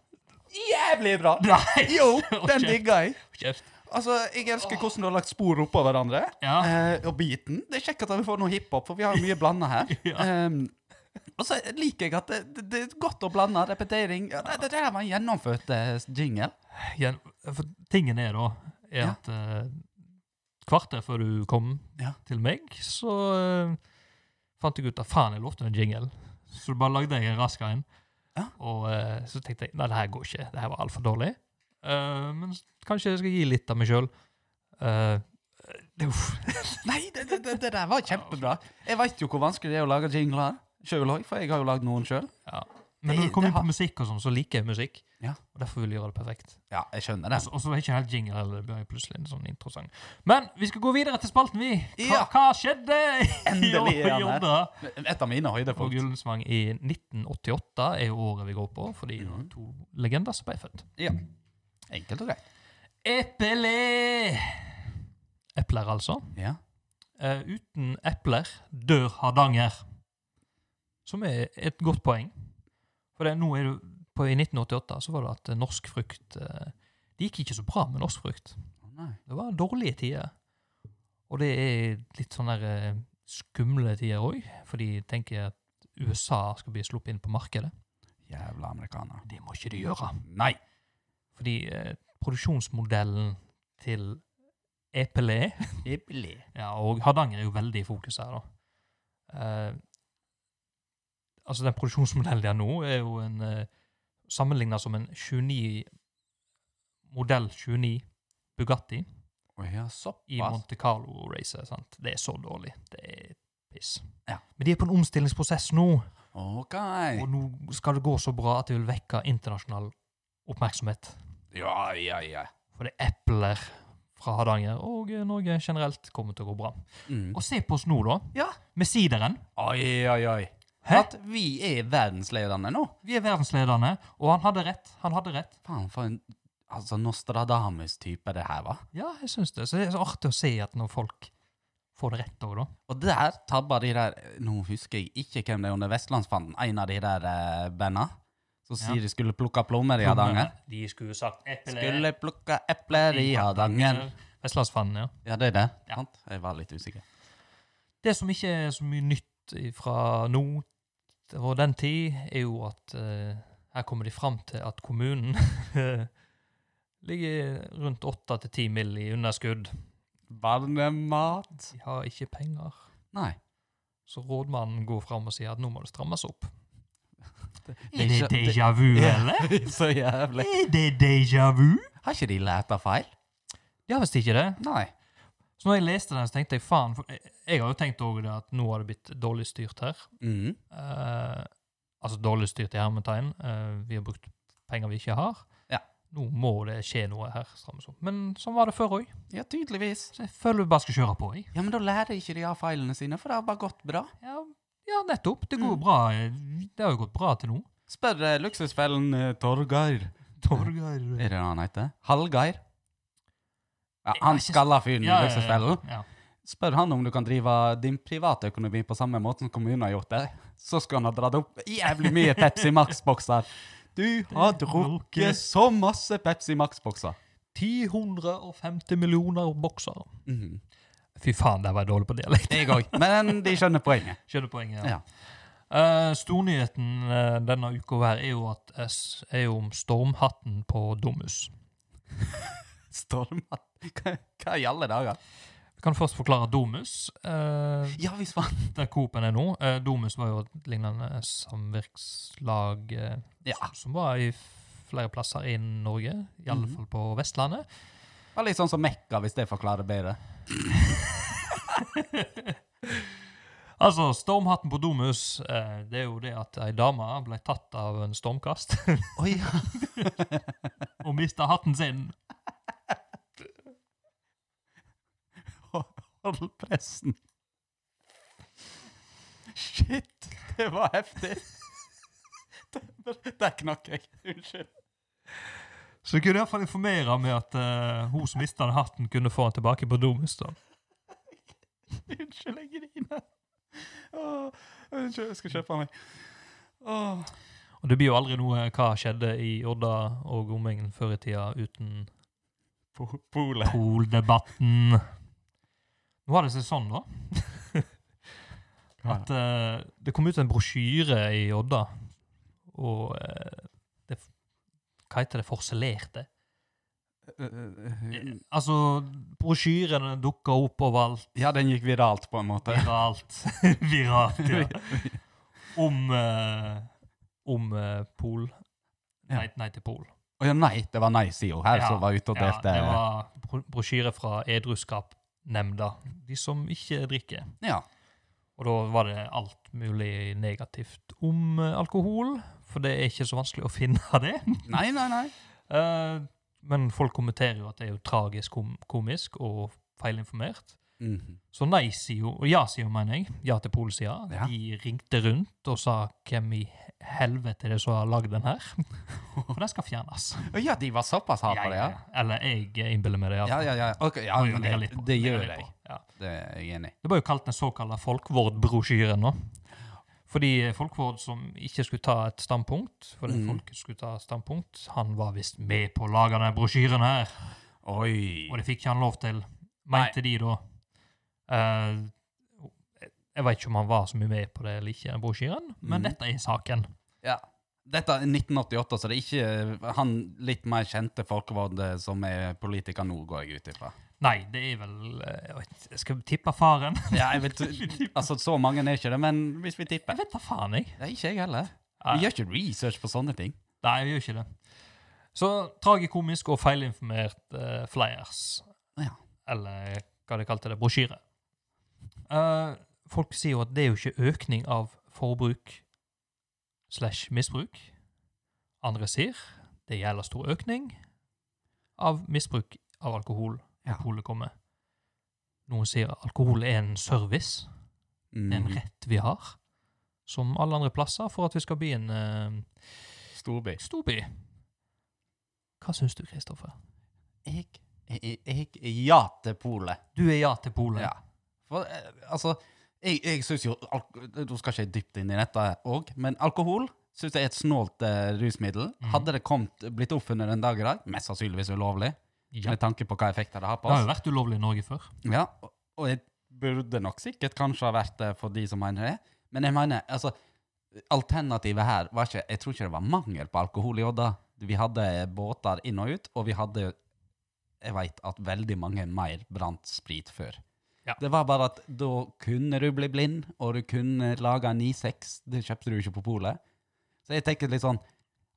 jævlig bra. nei! Jo, Hold den kjeft, digga jeg. hold kjeft. Altså, Jeg elsker hvordan du har lagt spor oppå hverandre. Ja. Eh, og beaten. Det er kjekt at vi får noe hiphop, for vi har jo mye blanda her. Ja. Ehm, og så liker jeg at det, det, det er godt å blande repetering. Ja, det, det der var en gjennomført eh, jingle. Igjen, for tingen er da, er Ja. at eh, kvarter før du kom Ja. til meg, så eh, fant jeg ut at faen, jeg lovte en jingle. Så du bare lagde jeg en raskere en. Ja. Og eh, så tenkte jeg, nei, det her går ikke. Det her var altfor dårlig. Eh, men s- kanskje jeg skal gi litt av meg Eh, sjøl. uff. Nei, det, det, det, det der var kjempebra. Jeg veit jo hvor vanskelig det er å lage jingler sjøl òg, for jeg har jo lagd noen sjøl. Ja. Men når Det- du kommer det inn på musikk og sånn, så liker jeg musikk. Ja. Og derfor vil jeg gjøre det perfekt. Ja, jeg skjønner det. Altså, Og så- Og så var det ikke helt jingle heller. Det ble plutselig en sånn introsang. Men vi skal gå videre til spalten, vi. Hva, Ja. hva skjedde? Endelig er han her. Jorda Et av mine og høydepunkt. Gullensvang i 1988 er jo året vi går på, fordi det var Mhm. to legender som ble født. Ja. Enkelt og greit. Eplé! Epler, altså. Ja. Eh, uten epler dør Hardanger. Som er et godt poeng. For det, nå er det, på, I 1988 så var det at eh, norsk frukt eh, Det gikk ikke så bra med norsk frukt. Å, Nei. Det var dårlige tider. Og det er litt sånn der eh, skumle tider òg, for de tenker at USA skal bli sluppet inn på markedet. Jævla amerikaner. Det må ikke de gjøre. Nei. Fordi eh, produksjonsmodellen til E Epelé Hippelig. ja, og Hardanger er jo veldig i fokus her, da. Eh, altså, den produksjonsmodellen de har nå, er jo en eh, sammenligna som en 29 Modell 29 Bugatti Å ja, i såpass. Monte Carlo-racet. sant? Det er så dårlig. Det er piss. Ja. Men de er på en omstillingsprosess nå, OK. og nå skal det gå så bra at det vil vekke internasjonal oppmerksomhet. Ja, ja, ja. For det er epler fra Hardanger, og eh, Norge generelt kommer til å gå bra. Mm. Og se på oss nå, da. Ja. Med sideren. Oi, oi, oi. Hæ? At vi er verdensledende nå. Vi er verdensledende, og han hadde rett. Han hadde rett. Faen, for en altså, Nostradamus-type det her var. Ja, jeg syns det. Så det er så artig å se at når folk får det rett òg, da. Og der tabba de der Nå husker jeg ikke hvem det er under Vestlandsfanden. En av de der eh, banda som sier Ja. de skulle plukke plommer i Hardanger. De skulle sagt eple. Skulle plukke epler i Hardanger. Vestlandsfanen, ja. Ja, det er det. Ja. Sant? Jeg var litt usikker. Det som ikke er så mye nytt fra nå og den tid, er jo at eh, her kommer de fram til at kommunen ligger rundt 8-10 mill. i underskudd. Barnemat? De har ikke penger. Nei. Så rådmannen går fram og sier at nå må det strammes opp. det er ikke- vu, Så jævlig. Er det déjà vu? Har ikke de lært av feil? Ja, visst ikke det. Nei. Så når jeg leste den, så tenkte jeg faen for Jeg, jeg har jo tenkt også det at nå har det blitt dårlig styrt her. Mhm. Eh, altså dårlig styrt i hermetegn. Eh, vi har brukt penger vi ikke har. Ja. Nå må det skje noe her. strammes opp. Men sånn var det før òg. Ja, tydeligvis. Så jeg føler vi bare skal kjøre på. Jeg. Ja, men da lærer ikke de av feilene sine, for det har bare gått bra. Ja, ja, nettopp. Det Mm. går jo bra. eh, Det har jo gått bra til nå. Spør eh, luksusfellen eh, Torgeir. Torgeir Er det det han heter? Hallgeir? Ja, Jeg har han ikke- skalla fyren i luksusfellen. Ja, ja. Spør han om du kan drive din privatøkonomi på samme måte som kommunen har gjort det. Så skulle han ha dratt opp jævlig mye Pepsi Max-bokser. Du har drukket så masse Pepsi Max-bokser. 1050 millioner bokser. Mhm. Fy faen, der var jeg dårlig på dialekt. Jeg òg. Men de skjønner poenget. Skjønner poenget. Ja. Eh, stornyheten eh, denne uka her er jo at S er jo om stormhatten på Domus. Stormat. Hva, hva i alle dager? Jeg kan først forklare Domus. eh, Ja, hvis faen. der Coop-en er nå. Eh, Domus var jo et lignende samvirkslag eh, Ja. som- som var i f- flere plasser i Norge, i alle Mhm. fall på Vestlandet. Det var litt sånn som Mekka, hvis det forklarer bedre. Altså, stormhatten på Domus, eh, det er jo det at ei dame ble tatt av en stormkast Oi, ja. og mista hatten sin. Hold pressen. Shit, det var heftig. Der, der knakk jeg. Unnskyld. Så jeg kunne iallfall informere med at eh, hun som mista den hatten, kunne få den tilbake på Domus. da. Unnskyld, jeg griner. Åh, unnskyld, jeg skal kjøpe meg. Åh. Og det blir jo aldri noe eh, hva skjedde i Odda og omegnen før i tida uten Po- Polet. Poldebatten. Nå har det seg sånn, da, at eh, det kom ut en brosjyre i Odda, og eh, det, Hva heter det? Forselerte? Eh, Altså, brosjyrene dukka opp overalt, Ja, den gikk viralt, på en måte. viralt, viralt, ja. Om eh, Om eh, Pol. Nei, nei til Pol. Å ja, nei, det var nei-sida her Ja, som var ute og Ja, delte det var bro- brosjyre fra Edruskapnemnda. De som ikke drikker. Ja. Og da var det alt mulig negativt om eh, alkohol, for det er ikke så vanskelig å finne det. Nei, nei, nei. Eh, men folk kommenterer jo at det er jo tragisk kom komisk og feilinformert. Mhm. Så nei-sida, og ja-sida, mener jeg, ja til polsida, Ja. de ringte rundt og sa hvem i helvete er det som har lagd den her? For den skal fjernes. Å Ja, de var såpass harde på det, ja? Eller jeg innbiller meg det. Ja, ja, ja. Ok, ja Må jo men ligge det, litt på, det ligge gjør litt jeg. på, Ja. Det er jeg enig i. Det ble jo kalt den såkalte folkevårdbrosjyren nå. Fordi folkevård som ikke skulle ta et standpunkt, fordi Mm. folket skulle ta et standpunkt, han var visst med på å lage denne brosjyren her, Oi. og det fikk ikke han lov til, mente de da. Eh, jeg vet ikke om han var så mye med på det eller ikke, den brosjyren, men Mm. dette er saken. Ja. Dette er 1988, så det er ikke eh, han litt mer kjente folkevalgte som er politiker nå, går jeg ut ifra. Nei, det er vel eh, Jeg, vet, jeg skal tippe faren. Ja, jeg vet, altså, så mange er ikke det, men hvis vi tipper Jeg vet da faen, jeg. Det er ikke jeg heller. Nei. Vi gjør ikke research på sånne ting. Nei, jeg gjør ikke det. Så tragikomisk og feilinformert eh, flyers. Ja. Eller hva de kalte det, brosjyre. Eh, folk sier jo at det er jo ikke økning av forbruk slash misbruk. Andre sier det gjelder stor økning av misbruk av alkohol. Ja. Alkoholet kommer. Noen sier alkohol er en service. Det er en Mhm. rett vi har, som alle andre plasser, for at vi skal bli en eh, Storby. Storby. Hva syns du, Kristoffer? Jeg, jeg, jeg, jeg ja til polet. Du er ja til Polen. Ja. For, eh, altså, jeg, jeg syns jo alk- Nå skal ikke jeg dypt inn i dette òg, men alkohol syns jeg er et snålt eh, rusmiddel. Mhm. Hadde det kommet, blitt oppfunnet en dag i dag, mest sannsynligvis ulovlig, Ja. med tanke på hva effekter det har på Det har jo oss. vært ulovlig i Norge før. Ja, og, og jeg burde nok sikkert kanskje ha vært det for de som mener det, men jeg mener, altså Alternativet her var ikke Jeg tror ikke det var mangel på alkohol i Odda. Vi hadde båter inn og ut, og vi hadde Jeg veit at veldig mange mer brant sprit før. Ja. Det var bare at da kunne du bli blind, og du kunne lage en 9-6. Det kjøpte du ikke på polet. Så jeg tenker litt sånn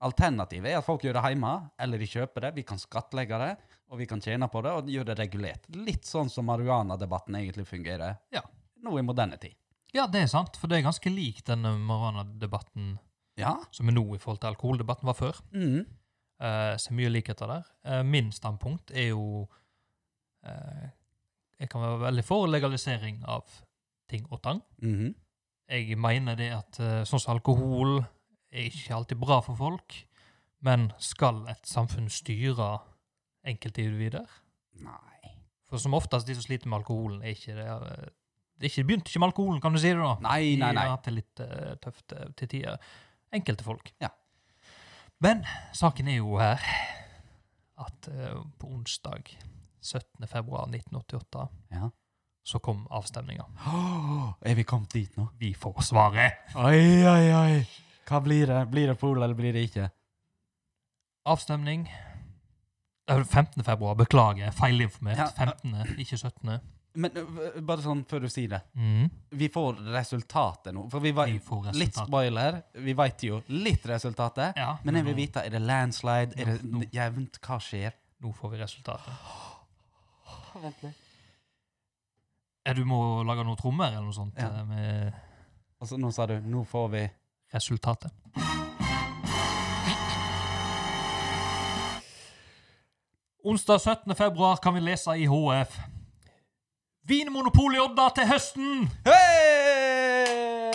Alternativet er at folk gjør det hjemme, eller de kjøper det. Vi kan skattlegge det, og vi kan tjene på det, og gjøre det regulert. Litt sånn som marihuana-debatten egentlig fungerer Ja. nå i moderne tid. Ja, det er sant, for det er ganske lik den eh, marihuana-debatten Ja. som er nå i forhold til alkoholdebatten var før. Mm. Uh, så mye likheter der. Eh, min standpunkt er jo eh, Jeg kan være veldig for legalisering av ting og tang. Mhm. Jeg mener det at eh, sånn som alkohol er ikke alltid bra for folk, men skal et samfunn styre enkeltindivider? Nei. For som oftest de som sliter med alkoholen, er ikke det eh, det er ikke, begynte ikke med alkoholen, kan du si det da? Nei, nei, De nei. har hatt det litt eh, tøft eh, til tider. Enkelte folk. Ja. Men saken er jo her at eh, på onsdag 17. februar 1988 Ja. så kom avstemninga. Åh, er vi kommet dit nå? Vi får svaret! Oi, oi, oi. Hva blir det? Blir det pol, eller blir det ikke? Avstemning Eh, 15. februar, beklager, Ja. feilinformert. 15., ikke 17. Men øh, bare sånn før du sier det. Mm. Vi får resultatet nå. For vi var Vi får resultat. litt spoiler. Vi veit jo litt resultatet. Ja, Men jeg vil vite, er det landslide? Er Nå, det jevnt? Hva skjer? Nå får vi resultatet. Ja, du må lage noen trommer eller noe sånt Ja. eh, med Altså, nå sa du 'nå får vi' resultatet. Onsdag 17. februar kan vi lese i HF. Vinmonopol i Odda til høsten! Hei!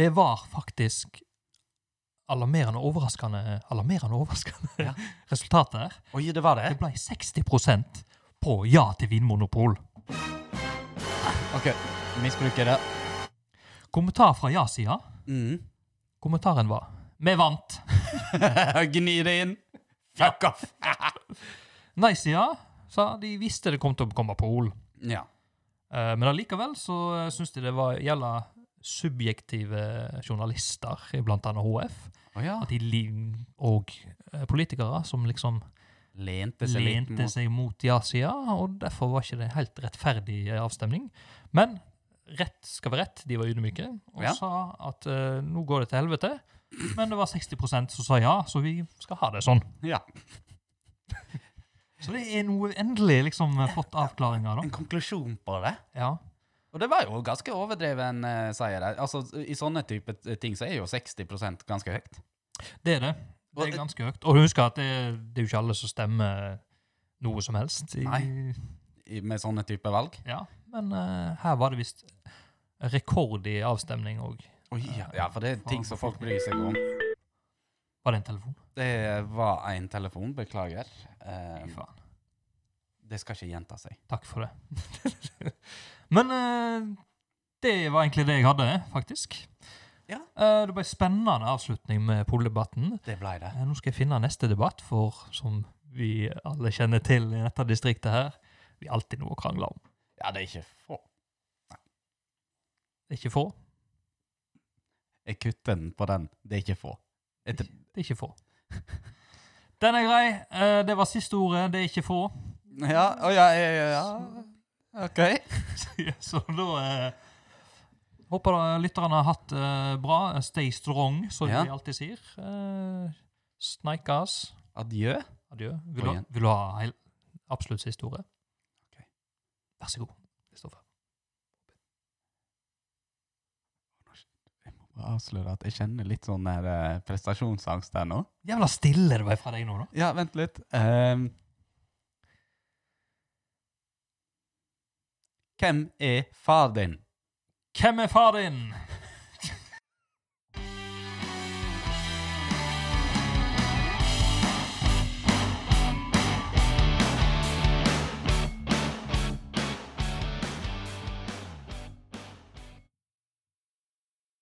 Det var faktisk alarmerende overraskende alarmerende overraskende Ja. resultat der. Oi, det var det? Det ble 60 på ja til vinmonopol. OK, misbruker det. Kommentar fra ja-sida. Mm. Kommentaren var Vi vant. Gni det inn. Fuck off. Nei-sida sa de visste det kom til å komme pol. ja. Eh, Men allikevel så eh, syns de det var gjelda subjektive journalister, i blant annet HF, Å ja. at de li- og eh, politikere som liksom Lente seg litt lente mot seg mot ja-sida, og derfor var ikke det helt rettferdig eh, avstemning. Men rett skal være rett, de var ydmyke, og Ja. sa at eh, nå går det til helvete. Men det var 60 som sa ja, så vi skal ha det sånn. Ja. Så det er noe endelig liksom eh, fått avklaringer, En da. konklusjon på det. Ja. Og det var jo ganske overdreven eh, seier. her. Altså, I sånne type t- ting så er jo 60 ganske høyt. Det er det. Det er ganske høyt. Og husk at det, det er jo ikke alle som stemmer noe som helst. I, Nei. I, med sånne type valg. Ja, men eh, her var det visst rekord i avstemning òg. ja. for det er ting som folk bryr seg om. Var det en telefon? Det var en telefon, beklager. Eh, Fy faen. det skal ikke gjenta seg. Takk for det. men eh, det var egentlig det jeg hadde, faktisk. Ja. Eh, det ble en spennende avslutning med poldebatten. Det blei det. Eh, Nå skal jeg finne neste debatt, for som vi alle kjenner til i dette distriktet her, vi har alltid noe å krangle om. Ja, det er ikke få. Det er ikke få. Jeg kutter den på den. Det er ikke få. Etter, Det er ikke få. Den er grei. Eh, Det var siste ordet. Det er ikke få. ja, å ja, ja, ja, ja. OK. Så da eh, håper da lytterne har hatt det bra. Stay strong, som Ja. vi alltid sier. Eh, Sneikes. Adjø. Adjø. Vil du, igjen. vil du ha heil, absolutt siste ordet? Ok. Vær så god, Kristoffer. Jeg må bare avsløre at jeg kjenner litt sånn der, eh, prestasjonsangst der nå. Jævla stille det var fra deg nå, da. Ja, vent litt. Ehm. hvem er far din? Hvem er far din?